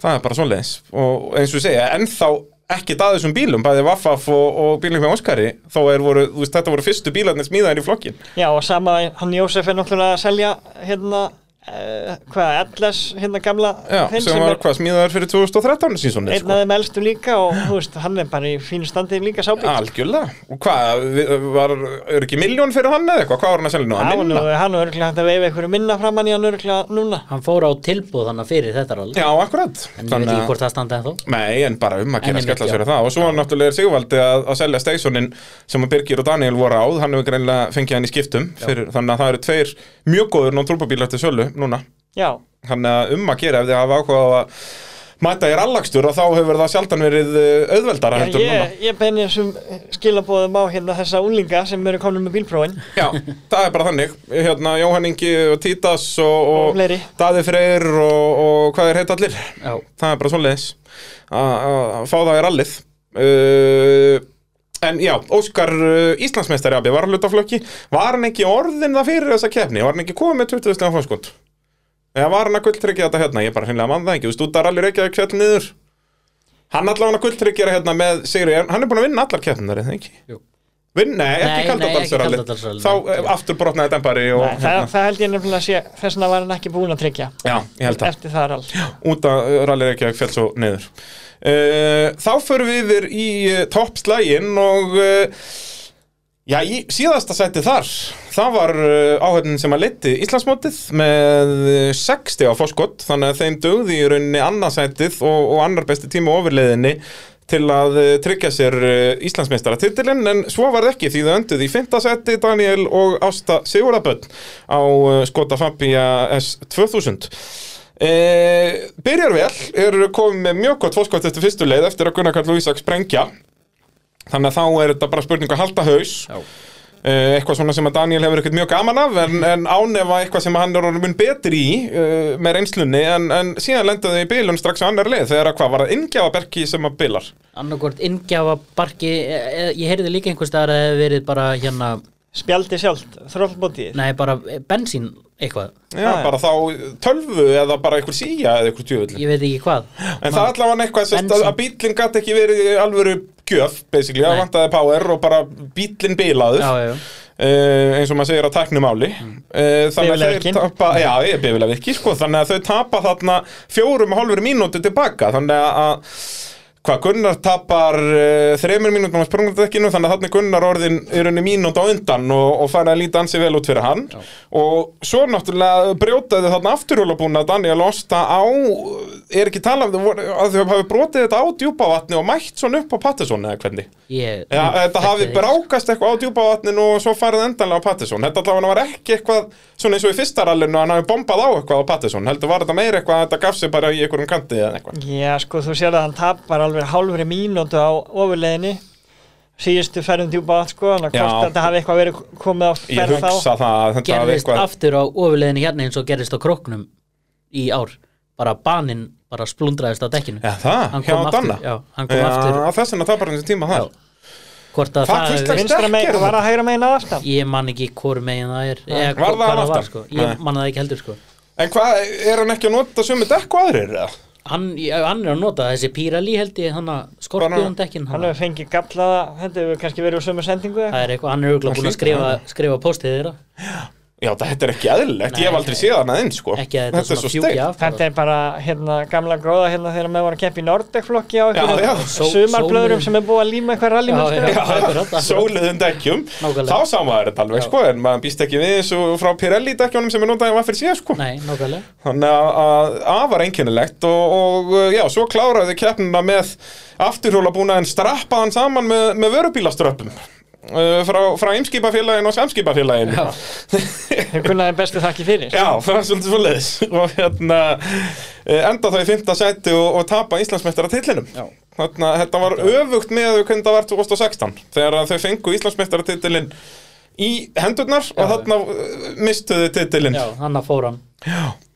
það er bara svoleiðis og eins og ég segja, ennþá ekki að þessum bílum, bæði Vaffaf og, og bílum hjá Óskari, þó er voru, þú veist, þetta voru fyrstu bílarnir smíðaðir í flokkin
Já, og sama hann Jósef er náttúrulega að selja hérna, uh, hvað, Atlas hérna gamla
Já,
þinn
sem var hvað sko. smíðaður fyrir 2013 sísónið,
einn af þeim elstu líka og þú veist, hann er bara í fínu standi líka sábíl
Algjörlega, og hvað, við- var, er ekki miljón fyrir hann eða eitthvað, hvað var hann að selja nú?
Já,
Að
og nú
eh,
minna?
er hann örgulega hægt að veifa einhverju minna framann í hann örgulega núna
Hann fór á tilbúð þannig fyrir þetta rall
Já, akkurat
En ég veit ekki hvort það standa ennþá
Nei, en bara um að
En
gera
einmitt,
skella
já.
sér að það og svo er náttúrulega Sigvaldi að, að selja Steisonin sem að Birgir og Daniel voru áð hann hefur greinlega fengið hann í skiptum fyrir, þannig að það eru tveir mjög góður non-turbobílar til sölu núna
Já,
þannig að um að gera ef þið hafa áhuga á að mæta í rallakstur og þá hefur það sjaldan verið uh, auðveldara
Já,
heldur en núna
ég, ég beini þessum skilabóðum á hérna þessa úlinga sem eru komin með bílprófin
Já, það er bara þannig hérna, Jóhann Ingi og Títas og,
Og fleiri.
Daði Freyr og, og hvað er heitt allir
Já,
það er bara svoleiðis að að fá það í rallið uh, en já, Óskar uh, Íslandsmeistari abi var hlutaflöki var hann ekki orðin það fyrir þessa keppni var hann ekki komið með 20. fórskot eða var hann að gulltryggja þetta hérna ég bara hreinlega mann það ekki, þú stúdar allir ekki að kveld niður hann allavega að gulltryggjara hérna með Sigri, hann er búin að vinna allar keppnar eða ekki
Jú.
Vinn, nei,
Nei,
ekki
nei, ekki
kaldadalsarallið
Kaldadalsarallið.
þá eh, aftur brotnaði dempari og
Nei, það, það held ég nefnilega að sé þess vegna var hann ekki búin að tryggja
já, hérna. ég held það
eftir það er alls
út að Rally Reykjavík fell svo niður uh, Þá förum við yfir í eh, toppslægin og uh, já, í síðasta sæti þar það var uh, áhæfnin sem að leiti Íslandsmótið með uh, 60 á fórskott þannig að þeim dögði í rauninni annarsætið og, og annar besti tíma ofurleiðinni til að eh, tryggja sér Íslandsmeistara titilinn en svo var það ekki því þau önduð í fintasætti Daniel og Ásta Sigurðaböll á eh, Skoda Fabia S2000 E, byrjar vel, eru komið með mjög gott fórskvæmt eftir fyrstu leið eftir að Gunnar Karl Lúísak sprengja þannig að þá er þetta bara spurning að halda haus
já,
Eh, eitthvað svona sem að Daniel hefur ekkert mjög gaman af en, en ánefa eitthvað sem hann er orðin mun betri í uh, með reynslunni en, en síðan lendaði í bílun strax á annar leið þegar að hvað var að ingjafaberki sem að bilar
annarkvort ingjafa barki e, Ég heyrði líka einhvers staðar að það hefði verið bara hérna
Spjaldi sjálft, þrólbótið
Nei, bara eh, bensín eitthvað
Já,
Ah, já.
bara þá tölvu eða bara einhver síja eða einhver tjöfull
Ég veit ekki hvað
En það allavega eitthvað sérst, að,
Benson.
að bílinn gæti ekki verið í alvöru gjöf, basically, það
Nei.
vantaði power og bara bílinn bilaður
Já, já, já.
Eh, eins og maður segir á tæknumáli mm. þannig að þeir
Bifilavirkin.
tapa
Mm.
já, ég er bifilega virki, sko, þannig að þau tapa þarna fjórum og hálfur mínútu tilbaka þannig að hvað Gunnar tapar uh, þremur mínútum á sprungdekkinu þannig að þarna er Gunnar orðin er henni mínút á undan og, og fara að líta ansi vel út fyrir hann og svo náttúrulega brjótaði þarna afturhjólabúna Daniel Osta á er ekki tala um þau voru- að þau hafi brotið þetta á djúpavatni og mætt svona upp á Patterson eða hvernig
Ég,
Já, þetta hafi
er-
brákast eitthvað á djúpa vatninu og svo farið endanlega á Pattinson Þetta allavega var ekki eitthvað, svona eins og í fyrsta rallinu hann hafi bombað á eitthvað á Pattinson heldur var þetta meira eitthvað að þetta gaf sig bara í einhverjum kanti eða eitthvað
Já, sko, þú sér að hann tapar alveg hálfri mínútu á ofurleðinni síðustu ferðum djúpa átt, sko þannig að
Já.
hvort þetta hafi eitthvað verið komið á
Ég
ferð þá
hugsa það að þetta hafi
gerðist
eitthvað
aftur á ofurleðinu hérna eins og gerðist á króknum í ár bara baninn bara splundraðist á dekkinu
Já, það,
Hann
hjá
kom aftur,
Danna
já, hann kom aftur.
Þess vegna tapar hann þessi tíma þar
Já. hvort að
Hvað
það
finnst þér?
hefur verið
vinstra megin,
Sterkir.
var að hægra megin að aftan
ég man ekki hvori megin það er eða,
Var það
hvar
hann aftan?
sko.
Nei.
ég man það ekki heldur sko
En hvað, er hann ekki að nota sömu dekk og aðrir? eða?
hann, ég- hann er að nota þessi pírali held ég hann að
Bara-
skorpiðan dekkin
hann
hann,
hefur fengið gallaða, þetta hefur kannski verið úr sömu sendingu eða
það er eitthvað, hann er auðvitað
Hann
búin að
hlýtur
skrifa,
að
skrifa postið þeirra
Já, þetta er ekki eðlilegt,
Nei,
ég hef aldrei
nei.
séð hana einn, sko
ekki að þetta,
er
svona
svo
fjúki
steikt.
af
Þetta er bara hérna, gamla gróða hérna, þegar maður var að keppa í Nordek-flokki á
Já, já.
einhverjum
Só-
sumarblöðurum
sólin-
sem er búið að líma eitthvað rally
Já, já.
Já,
Akkurat, akkurat.
Sóliðum dekkjum
Nákvæmlega.
Þá sá maður þetta alveg,
Já.
sko En maður býst ekki við þessu frá Pirelli dekkjónum sem er notaði maður fyrir síðan, sko
Nei, nákvæmlega
Þannig að- að afar einkennilegt og, og uh, já, svo kláraðu þau keppnina með afturhjóla búnaðin strappaðan saman með, með vörubílaströppum uh, frá, frá eimskipafélagin og samskipafélagin
Já.
Þeir kunnaði bestu þakki fyrir
Já, það var svolítið svoleiðis og hérna eh, enda þá í fymta seti og, og tapa Íslandsmeistara tillinum
Já.
Þarna, þetta var öfugt með þau hvernig það var 2016 þegar að þau fengu Íslandsmeistara tillin í hendurnar og
Já.
þarna eh, mistu þau tillin
Já, hann að fór hann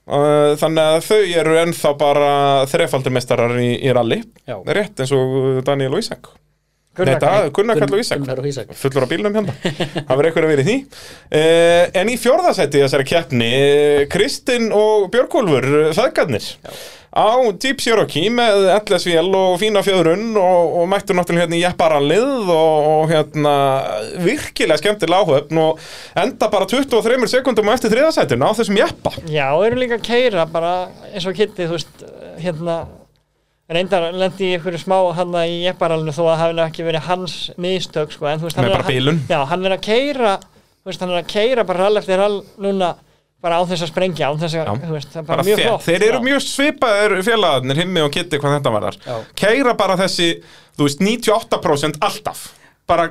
Uh, Þannig að þau eru ennþá bara þrefaldir mestarar í, í rally
Já.
Rétt eins og uh, Daniel og Ísak
Gunnar
Nei,
Karl.
það- Gunnar Kall og Ísak
Gunnar og Ísak
Fullur á bílnum hérna Það verður eitthvað að vera í því uh, En í fjórðasætti í þessari keppni uh, Kristinn og Björgólfur Feðgarnir Á Jeep Cherokee með LSVL og fína fjöðrun og, og mættu náttúrulega hérna í jepparallið og, og hérna virkilega skemmtilega áhöfn og enda bara 23 sekundum á eftir þriðasættin á þessum jeppa
Já, og eru líka að keira bara eins og kitti, þú veist, hérna reyndar lendi í einhverju smá hann í epparalinu þó að hafi nú ekki verið hans mistök, sko, en þú veist, hann
Með
er
bara
að-
bilun.
Já, hann er að keira, þú veist, hann er að keira bara rall eftir rall núna bara án þess að sprengja, án þess að,
Já.
þú veist, það er bara,
bara
mjög
þér.
flott sko.
Þeir eru
Já.
mjög svipaðir félagarnir himmi og kitti hvað þetta varðar
Já.
Keira bara þessi, þú veist, 98% alltaf Bara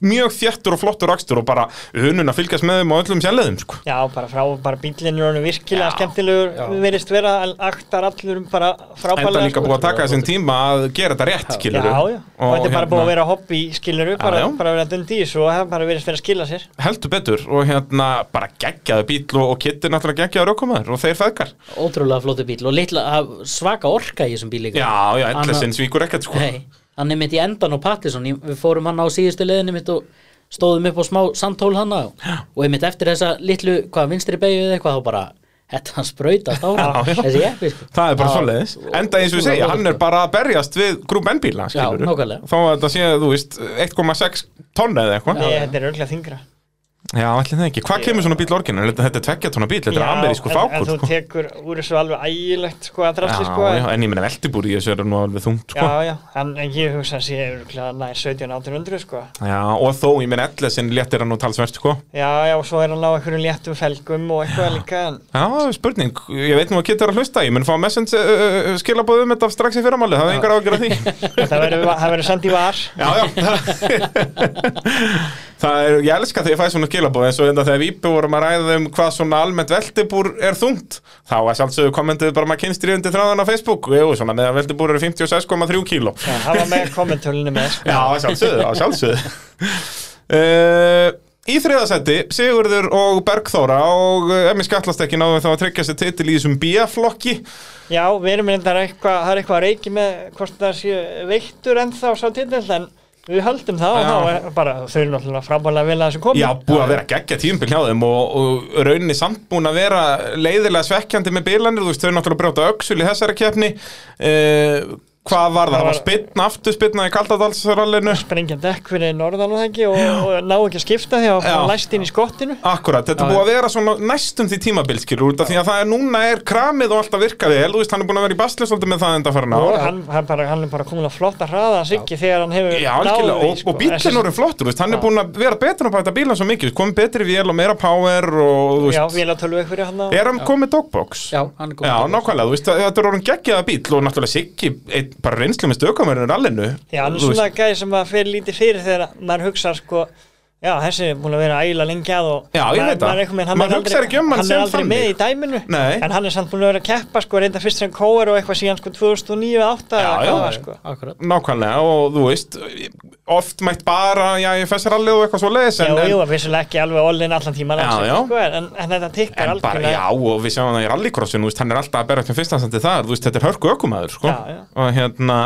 mjög þjættur og flottur akstur og bara unun að fylgjast með þeim á öllum sérleðum sko.
Já, bara frá, bara bílinn er honum virkilega
Já.
skemmtilegur,
Já.
við verist vera en aktar allur um bara frábælega
Enda líka
sko.
búið að taka þessum tíma að gera þetta rétt,
Já,
skilur hérna.
já, og þetta er bara búið að vera hobby, skilur upp, bara,
Já, já.
bara verið að dundi í þessu og það er bara verið að skila sér
Heldur betur og hérna bara geggjaði bíl og, og kitti náttúrulega geggjaði raukumæður og þeir feðgar
Ótrúlega flóti bíl og litla, að- svaka orka í þessum bíl líka
Já, já,
Anna-
endlega sinn svíkur ekkert sko
Nei, hann er mitt í endan og Pattinson ég- Við fórum hann á síðustu leiðinni mitt og stóðum upp á smá sandtól hann á og einmitt eftir þessa litlu, hvað, vinstri beigju eða eitthvað, þá bara, þetta hann sprautast á hann,
Já, já.
þessi jeppi sko.
Það er bara
Já,
svoleiðis, enda eins og við
ótrúlega
segja,
flottur,
hann er
sko.
bara að berjast við grúm N-bíla, skilur
nákvæmlega.
Þó að þetta sé, þú veist, 1,6 tonna eða eitthvað
Nei,
já.
þetta er örglega þingra
Já, allir það ekki, hvað kemur svona bíl orginu? Þetta þetta er tveggja tonna bíl, þetta er amerískur
en, en
fákur
þú
sko.
tekur úr þessu alveg ægilegt sko að drasli sko
Já, já, en ég meina veltibúr í þessu er nú alveg þungt
já,
sko.
já, en, en ég hugsa að sé örglega nær 17-1800 sko
Já, og þó, ég meina ellesinn léttir hann nú talsverst sko.
Já, já, og svo er hann á einhverjum léttum felgum og eitthvað líka en
Já, spurning, ég veit nú að Kitt er að hlusta, ég mun fá message uh, uh, skilabóð um þetta strax í fyrramáli, það er engar ágjör að því
það verður það verður sandi var
Já, já Það er, ég elska þegar ég fæ svona skilabóð eins og þetta þegar við íbú vorum að ræða um hvað svona almennt veltibúr er þungt þá að sjálfsögðu kommentuðu bara maður kynstri undir þráðan á Facebook, jú, svona meðan veltibúr eru 56,3 kíló
Já, það var með kommentölinu með sko
Já, að sjálfsögðu, að sjálfsögðu uh, Í þriðasætti, Sigurður og Bergþóra og uh, emmi skallast ekki náðum þá að tryggja sér titil í þessum B-flokki
Já, við erum reyndar eitthvað, það er eitthvað að reiki með hvort það sé veittur ennþá sá titill en við höldum það
Já.
og þá er bara, þau eru náttúrulega frábæðlega vel að þessu komi
Já, búið að vera geggja tímbil hjá þeim og, og rauninni samt búin að vera leiðilega svekkjandi með bilanir, þú veist, þau náttúrulega brjóta öxul í þessari keppni uh, Hvað var það?
Það
Það var
var-
spinn aftur spinna í Kaldadalsrallinu
Sprengja dekk fyrir norðan og það ekki og, og ná ekki að skipta því að fá
Já.
læst inn í skottinu
Akkurat, þetta er búið að vera svona næstum því tímabilskir út af því að það er núna er kramið og allt að virka vel, þú veist, hann er búin að vera í basli svolítið með það enda farin á
og hann, hann, bara, hann er bara komin að flotta hraða hans ekki þegar hann hefur
Já,
náð
algjörlega,
því,
og,
sko.
og bílinn orðin flottur, þú veist, hann er búin að vera betur að bæta bílan svo mikið, komið betri vél og meira power og, þú
Já,
veist,
vélatölu einhverju hann á
er hann komið dogbox?
Já, hann er kominn
Já,
dogbox.
nákvæmlega, þú veist, þetta er orðin geggjaða bíl og náttúrulega Siggi, einn, bara reynslu með stökumverðinu rallinu.
Já, hann er
þú veist.
svona gæði sem að fer lítið fyrir þegar maður hugsa sko Já, þessi er búin að vera ægilega lengi að og
Já, ég veit það.
maður, einhvern veginn- hann
Maður
er
hugsar
aldrei,
ekki um hann
hann
sem
er aldrei
þannig.
með í dæminu
Nei.
en hann er samt búin að vera að keppa sko reynda fyrst sem kóar og eitthvað síðan sko 2009-2008
Já, já.
sko.
Akkurat
Nákvæmlega, og þú veist, oft mætt bara, já, ég fess rallið og eitthvað svo leiðis,
Já,
en,
jú,
en,
að vissulega ekki alveg all-in allan tíman
Já,
alls ekki,
já.
sko, en, en þetta tikkar
en bara,
algjörlega
já, og við sjáum það í rallycrossinu, þú veist, hann er alltaf að bera upp með fyrstansandi þar, þú veist, þetta er hörku ökumæður, sko,
Já, já.
og hérna,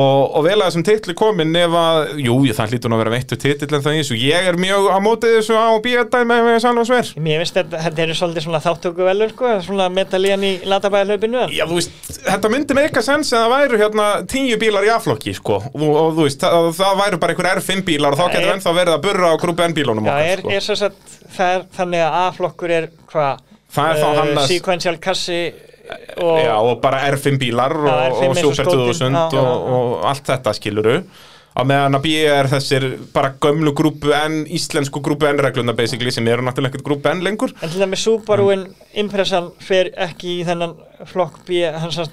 og, og vel að þessum titli komin ef að, jú, það hlýtur nú að vera veittu titill en það í þessu, ég ég er mjög á mótið þessu á bíðardæmi með sann og sver
Mér finnst þetta, þetta eru svolítið svona þáttöku velur sko, svona metalían í latabæðalöpinu
Já, þú veist, þetta myndi með eitthvað sens að það væru hérna tíu bílar í afflokki, sko og, og þú veist, það, það væru bara einhver R5 bílar og þá
Já,
getur
er-
ennþá verið að burra á grúpi N-bílunum
Já,
okkar,
er,
sko
er svo satt, það er þannig að A-flokkur er hvað? eh,
Það er þá hann að-
Sequential kassi og
Já, og bara R5 bílar og,
Já, R5
og
eins og
Super
skotinn,
2000
já, já,
og,
já.
og allt þetta skiluru á meðan að B er þessir bara gömlu grúpu N, íslensku grúpu N regluna basically sem eru náttúrulega ekkert grúpu N lengur
En til dæmis Subaruinn
Mm.
Impressan fer ekki í þennan flokk B, hans að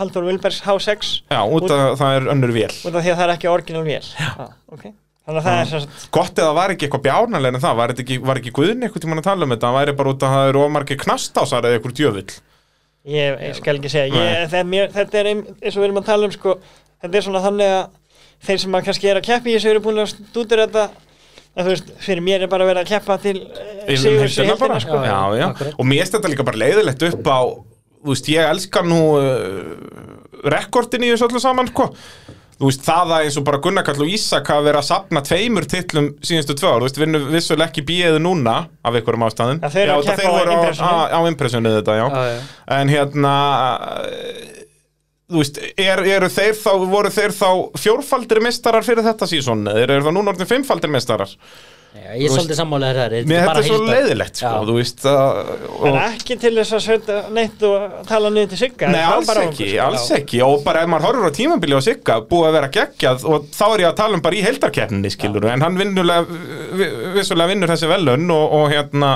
Haldur Vilbergs H6
Já, út
út,
af það er önnur vél
út af því að það er ekki orginal vél. Já. Okay. Þannig að það er sem sagt,
Gott eða var ekki eitthvað bjánarlega en það, var, þetta ekki, var ekki guðin eitthvað tímann að tala um þetta, það væri bara út að það eru ómargi knastásar eða eitthvað djöfull.
ég, ég skal ekki segja,
Nei.
ég, það, er mér, þetta er ein- eins og við erum að tala um sko, þetta er svona þannig að þeir sem að kannski er að keppa í þessu eru búin að stúdur þetta að þú veist, fyrir mér er bara að vera að keppa til eh,
Yfir
sigurs í
heildina bara.
heildina sko.
já, já,
Já, akkurat.
og mér er þetta líka bara leiðilegt upp á þú veist, ég elska nú uh, rekordin í þessu öllu saman sko. þú veist, það að eins og bara Gunnar Kall og Ísak hafa verið að sapna tveimur titlum síðustu tvö ár, þú veist, vinnur vissulega ekki bíðið núna af einhverjum ástæðum
Já, þeir eru að
þetta-
keppa á
voru
Impressunni.
á, á impressjónu þetta, já,
Já, já.
en hérna eh, þú veist, er, eru þeir þá voru þeir þá fjórfaldir mestarar fyrir þetta sísón, eða eru það núna orðin fimmfaldir mestarar,
Já, ég er
veist-
svolítið sammálega þar
mér þetta er svo leiðilegt sko,
Já.
þú veist að,
En ekki til þess að sveita neitt og tala niður til sigga
Nei, alls ekki, alls ekki og bara ef maður horfur á tímabili á Sigga búið að vera geggjað og þá er ég að tala um bara í heildarkeppninni skilur, en hann vinnulega vi- vissulega vinnur þessi velun og, og hérna,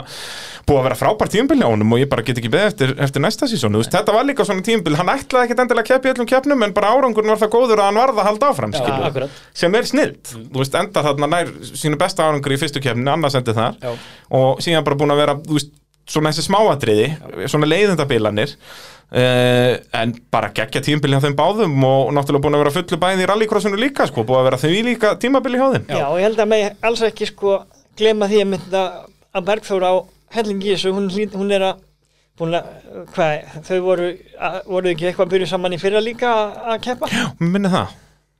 búið að vera frábær tímabili á honum og ég bara get ekki beðið eftir, eftir næsta sísónu, veist, þetta var líka svona tímabili hann ætlaði ekkit endilega að keppa í öllum keppnum en bara árangurinn var það góður að hann varð að halda áfram
Já,
skilur,
akkurat. Mm.
sem er snilt þú veist, enda þarna nær sínu besta árangur í fyrstu keppninu, annars endi þar
Já.
og síðan bara búin að vera þú veist, svona þessi smáatriði, svona leiðindabilanir uh, en bara geggja tímabili hjá þeim báðum og náttúrulega búin að vera fullu bæði í rallycrossinu líka sko, búin að vera því líka tímabili hjá þeim
Já, og ég held að mig alls ekki sko glema því að mynda að Bergþóra á hellingi þessu, hún, hlýt- hún er að búin að, hvað, þau voru að, voru ekki eitthvað að byrja saman í fyrra líka að, að keppa,
Mér minni það,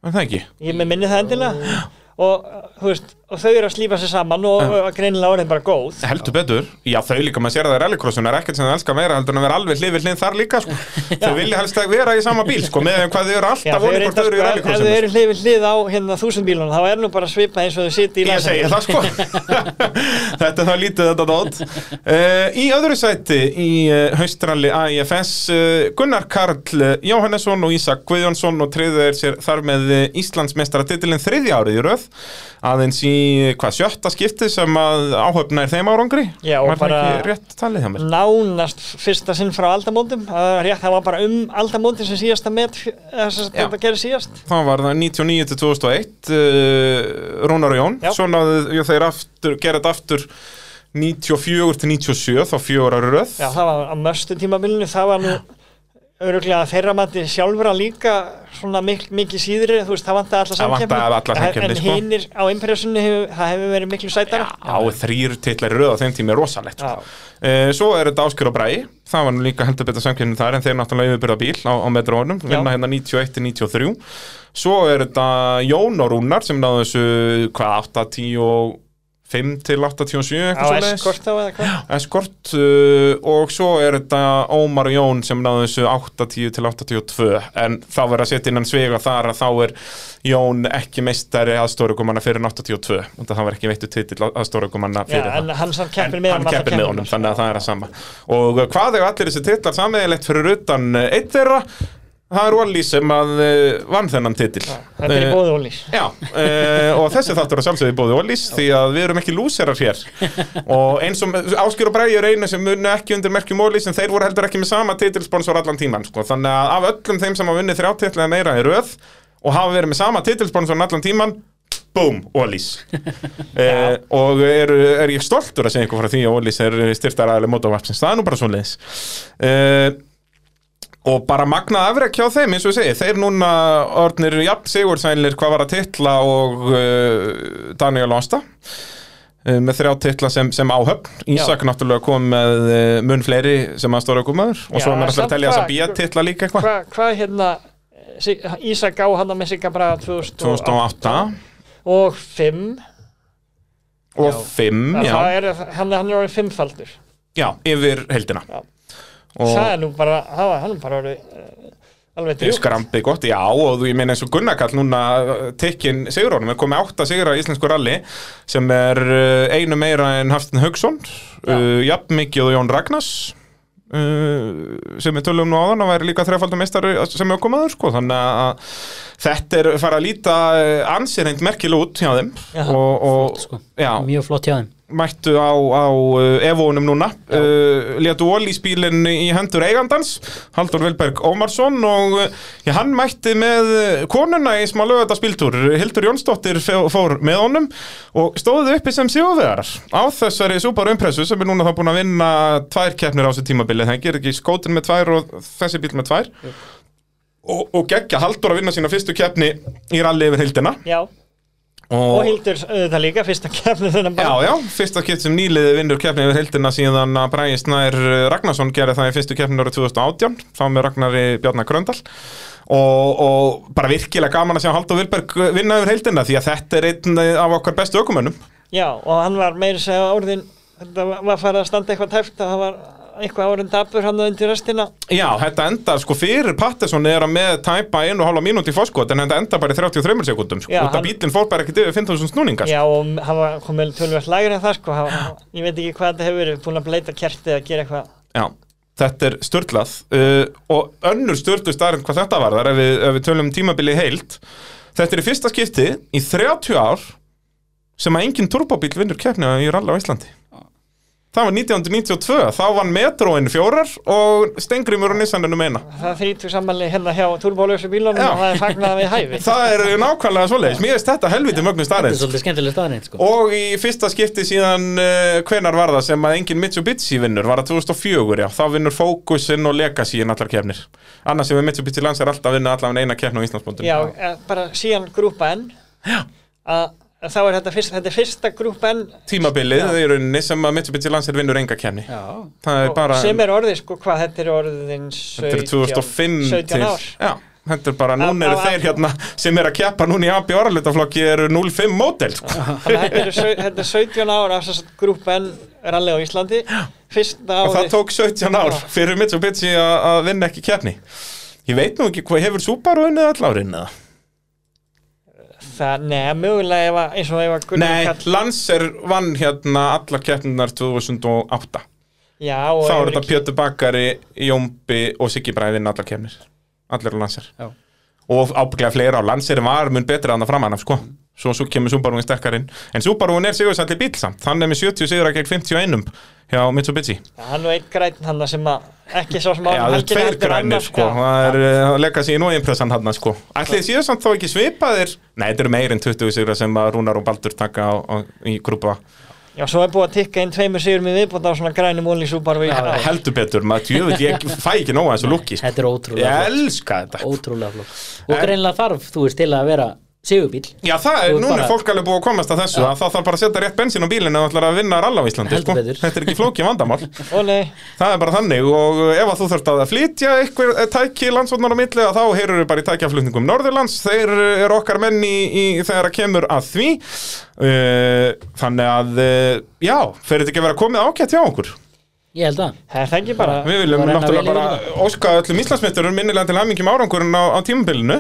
er það ekki?
ég með minni það endilega og, þú veist, og þau eru að slífa sér saman og, og greinilega orðin bara góð
Heldur betur, já þau líka, maður sér að það í rallycrossinu er ekkert sem það elska meira heldur en að vera alveg hlið við hlið þar líka sko. þau vilja helst að vera í sama bíl sko, með hvað þau eru
Já,
alltaf
þau
vonið
eru
hvort þau
eitthvað
eru í
sko,
rallycrossinu
ef ef þau eru hlið við hlið á hérna þúsundbílunum, þá er nú bara svipað eins og þau sitja í
Ég
landsæti.
segi það sko Þetta er það lítið þetta dót uh, Í öðru sæti í uh, haustralli AIFS uh, Gunnar Karl uh, Jóhannesson og Ísak Guðjónsson og treyður sér þar með uh, Íslandsmeistara titilin þriðja árið í röð aðeins í uh, hvað sjötta skipti sem að áhöfna er þeim árangri
Já, og
Var það
bara- Mm.
ekki rétt talið hjá mér
nánast fyrsta sinn frá aldamótum það er rétt, það var bara um aldamótin sem síðasta met þess að
Já.
þetta gerir síðast
Þá var það 99 til 2001 uh, Rúnar og Jón
Já.
Svo náðu já, þeir aftur, gera þetta aftur 94 til 97 þá fjögur ári röð
já, það var á möstu tímabilinu það var nú öruglega þeirra mati sjálfra líka svona mik mikið síðri, þú veist, það vantaði alla
Það
samkeppni
vantaði alla samkeppni,
en
sko.
hinnir á impressunni hefur, það hefur verið miklu sætara
Já, þrýr titlar í röð á þeim tími er rosalegt
Já.
sko. uh, Svo er þetta Áskjör og Bræi Það var nú líka heldur betur samkynni þar En þeir náttúrulega yfirbyrða bíl á, á metrónum Vinna hérna 91-93 Svo er þetta Jón og Rúnar Sem náðu þessu, hvað, 85 til 87
á
eitthvað svoleiðis.
eskort þá eða hvað
Escort uh, og svo er þetta Ómar og Jón sem náðu þessu 80 til 82 en þá verður að setja innan svega þar að þá er Jón ekki meistari aðstórugumanna fyrir en 82 og það var ekki veittu titill aðstórugumanna
já,
fyrir
en
það
hann samt keppir
En
með
hann
alla
keppir með
keppnina.
honum, þannig að það er að sama Og uh, hvað er allir þessi titlar sammeðilegt fyrir utan uh, eitt þeirra Það er Wally sem að uh, vann þennan titill
þetta er
Eh,
í bóðu ólís
Já, uh, og þessi þáttur að sjálfsögðu bóði Ólís því að við erum ekki lúserar hér og eins og Áskjör og Bræði er einu sem munu ekki undir merkjum Ólís en þeir voru heldur ekki með sama titilsponsor allan tíman sko. þannig að af öllum þeim sem hafa vunnið þrjá titlaði meira í röð og hafa verið með sama titilsponsor allan tíman Búm, Ólís uh, og er, er ég stoltur að segja eitthvað frá því að Ólís er styrtaræðileg mótavarpsins, það er nú bara svo leiðis Eh, Og bara magnað afrek hjá þeim, eins og ég segi, þeir núna orðnir jafn sigursælir hvað var að titla og uh, Daniel Ásta uh, með þrjá titla sem, sem áhöfn. Ísak náttúrulega kom með uh, mun fleiri sem aðstóra gumaður og
Já,
svo er maður alltaf
samt
að telja þess
hvað-
að býja titla líka eitthvað.
hvað hva, hérna eh, Sig- Ísak á hann með Sigga Braga 2008
2008
og 5
og
Já.
fimm,
Það-
Mm, já,
það er, hann, hann er orðið fimmfaldur
já, yfir heldina
Já.
og
það er nú bara, það var, hann er bara orðið uh, alveg
Jú.
drjúgt
skrambið gott, já, og þú, ég meina eins og Gunnarkall núna tekkin sigurónum, er komið átta sigra í íslensku ralli sem er uh, einu meira en Haftin Haugsson uh, jafn mikið og Jón Ragnars uh, sem við tölum nú áðan að væri líka þrefaldum meistari sem er komaður sko, þannig að þetta er fara að líta uh, ansýrend merkil út hjá þeim
Já,
og, og
sko.
já,
mjög flott hjá þeim
mættu á, á uh, evónum núna uh, létu ólíspílinn í hendur eigandans Haldur Vilberg Ómarsson og uh, já, hann mætti með uh, konuna í smá lögata spiltúr Hildur Jónsdóttir fó- fór með honum og stóðu uppi sem sigurvegarar á þessari súpar umpressu sem er núna þá búin að vinna tvær keppnir á þessu tímabili það gerir ekki skótin með tvær og þessi bíl með tvær og, og geggja Haldur að vinna sína fyrstu keppni í ralli yfir hildina
Já, og Hildur auðvitað líka fyrst að kemna þennan bara
Já, já, fyrsta kipt sem nýliði vinnur keppni yfir heildina síðan að Bræði Snær eh, Ragnarsson gerði það í fyrstu keppni árið 2018 þá með Ragnari Bjarnar Gröndal og, og bara virkilega gaman að sjá Haldur Vilberg eh, vinna yfir heildina því að þetta er einn eh, af okkar bestu ökumönnum
Já, og hann var meira að segja orðin þetta var var farið að standa eitthvað tæft og það var eitthvað orðin dapur hann undir restina
Já, þetta endar sko fyrir Patterson er að með tæpa einu og hálfa mínúti í fórskot en þetta endar bara í 33 sekundum sko,
Já,
út af
hann-
bílinn fór bara ekkert yfir 5000 snúningar sko.
Já, og hann var komið tölvægt lægri en það sko hann, ég veit ekki hvað þetta hefur verið búin að bleita kerti eða gera eitthvað
Já, þetta er störtlað uh, og önnur störtlu starrend hvað þetta varðar ef við, ef við tölum um tímabilið heilt Þetta er í fyrsta skipti í 30 ár sem að engin turbóbíl vinnur keppni í rally á Íslandi Það var 1992, þá vann Metroin fjórar og Stengrimur og Nissaninu meina
það þrítur samanlega hérna hjá turbólösu bílunum
Já.
og það er fagnað við hæfi
Það er nákvæmlega svoleiðis, mér veist þetta helviti mögnu
þetta er
starrend
svolítið skemmtileg staðarinn sko.
Og í fyrsta skipti síðan uh, hvenar var það sem að engin Mitsubishi vinnur var það 2004, já, þá vinnur Focusinn og Legacy í allar kefnir annars hefur Mitsubishi lands er alltaf að vinna allavega eina kefn á Íslandsbóndum
Já, eh, bara síðan grúpa N að að þá er þetta fyrst, þetta er fyrsta grúpa N
tímabilið í rauninni sem að Mitsubishi lands er vinnur enga kefni
já,
það er bara
sem er orðið sko hvað þetta er orðin 17,
þetta er 2005 til
17 ár
já, þetta er bara, núna eru
Af- af-
þeir hérna sem er að keppa núna í AB orðalutaflokki eru 05 mótel sko.
Þannig að þetta er sau- þetta er 17 ára af þess að grúpa N rally á Íslandi fyrsta
og það
árið
tók 17 ár fyrir Mitsubishi a- að vinna ekki kefni ég veit nú ekki hvað hefur Subaru unnið allárin eða
það, neða, mögulega ef að, eins og ef að Gunnar
Nei,
Karl-
Lanser vann hérna allar keppninar 2008
já, og
Þá
hefur
er þetta
ekki-
Pjötu Bakari, Jómbi og Siggi Bræðin allar keppnir Allir á Lanser
já.
Og ábygglega fleira á Lanser var mun betra en það framan af sko Svo, svo kemur Subaruinn sterkarinn En Subaruinn er sigursætli bíl samt Hann er með 70 sigura gegn 51 hjá Mitsubishi
Já, hann og einn græn hann sem að ekki sá sem á
Já, það er
helgina,
tveir
heldur
grænir
annar,
sko
já.
Það er að leggja sig í nóimpressan hann sko Ætli þið síðan samt þá ekki svipaðir Nei, þetta eru meir en 20 sigura sem að Rúnar og Baldur taka á, á, í grúpa
Já, svo er búið að tikka inn tveimur sigur með viðbútt á svona grænum ólís og bara við
Já, heldur betur, maður djöfull, ég fæ ekki nóga þessu lukki
þetta er
Ég
ótrúlega flott
elska þetta
ótrúlega flott og
En-
greinilega þarf þú veist til að vera sigurbíl
Já, það er,
Þú
núna er
bara-
fólk alveg búið að komast að þessu að það þarf bara að setja rétt bensín á bílinn eða ætlar að vinna rall á Íslandi,
Heldur
sko
betur.
Þetta er ekki flókið vandamál,
Ó nei,
það er bara þannig og eh, ef að þú þurft að flytja einhver eh, tæki landsvotnar á milli að þá heyrur við bara í tækjaflutningum Norðurlands, þeir eh, eru okkar menn í, í þegar að kemur að því Eh, Þannig að, eh, já, fer þetta ekki að vera komið ágætt hjá okkur
ég held að
það er það ekki bara
Við viljum
Bara reyna
náttúrulega
vel yfir
bara óska öllum Íslandsmeisturum minnilega til hamingjum árangurinn á, á tímabilinu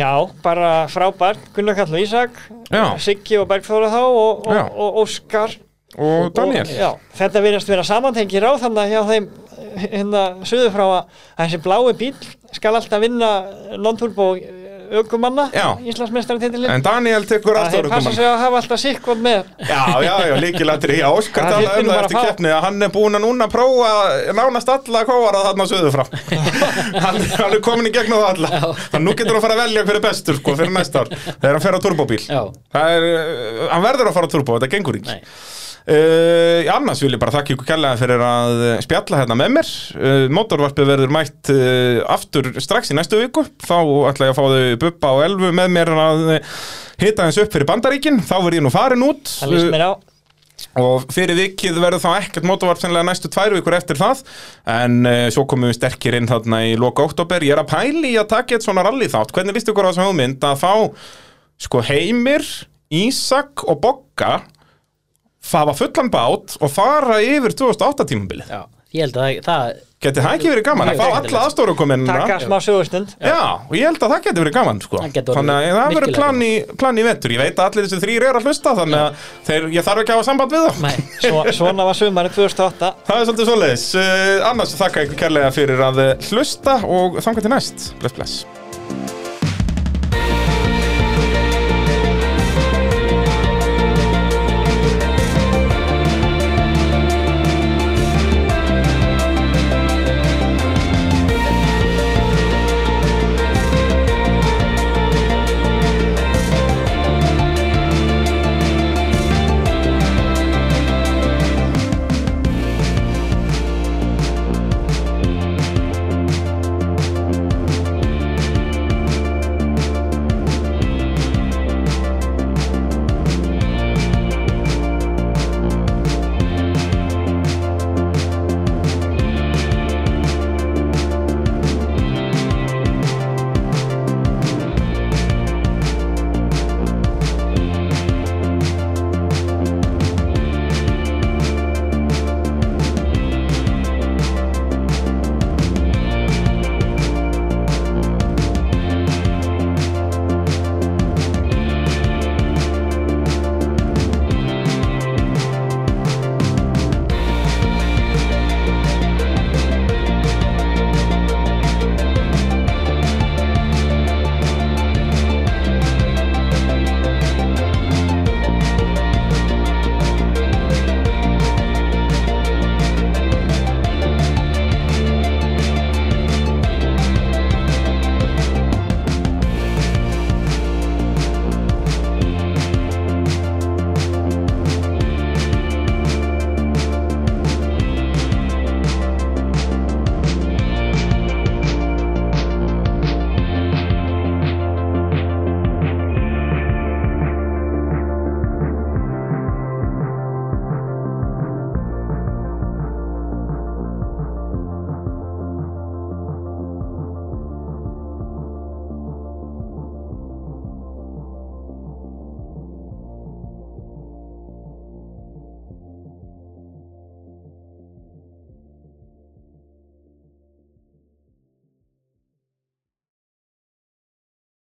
Já, bara frábært, Gunnar Kall og Ísak
Já.
Siggi og Bergþóra þá og,
Já.
og, og Óskar
og Daniel
og, já, Þetta verðast vera samantengi ráð þannig að hjá þeim hérna suður frá að þessi blái bíl skal alltaf vinna non-turbo aukumanna
Já.
Íslandsmeistaratitilin
en Daniel tekur
að
alltaf
þeir passa
öruggum mann.
sig að hafa alltaf sikkvot með
já, já, já, líkilatri, já, Óskar
Það
talaði um
þyrfti nú
það
bara
eftir
að fá-
keppni að hann er búin að núna prófa nánast alla kóara þarna söðu frá hann, hann er komin í gegnum það alla þannig nú getur hann að fara að velja hverju bestur sko, fyrir næsta ár, þegar hann fer á turbóbíl
já,
Það er, uh, hann verður að fara á turbó, þetta gengur ekki
nei,
Uh, annars vil ég bara þakka ykkur kærlega fyrir að uh, spjalla hérna með mér uh, Mótorvarpið verður mætt uh, aftur strax í næstu viku Þá ætla ég að fá þau Bubba og Elfu með mér að uh, hita eins upp fyrir Bandaríkin Þá verð ég nú farin út
Það lýst mér á
uh, Og fyrir vikið verður þá ekkert mótorvarp sennilega næstu tvær vikur eftir það En uh, svo komum við sterkir inn þarna í loka oktober Ég er að pæli í að taka eitt svona rally þátt Hvernig líst ykkur á þessu hugmynd að fá sko Heimir, Ísak og Bogga fafa fullan bát og fara yfir 2008 tímabilið
Já, ég held að það, það
geti það ekki verið gaman að
Mjög
fá
skemmtilegt.
alla aðstórukomennina
taka smá sögustund
Já, og ég held að það geti verið gaman sko.
Það geti orðið
Þannig að það verður
virkilega
plan í, plan í vettur Ég veit að allir þessu þrýr eru að hlusta Þannig að þeir, ég þarf ekki að hafa samband við þá
Nei,
Svo, svona var sömarið 2008
Það er svolítið svoleiðis eh, uh, Annars þakka ykkur kærlega fyrir að eh, hlusta Og þangar til næst Bless, bless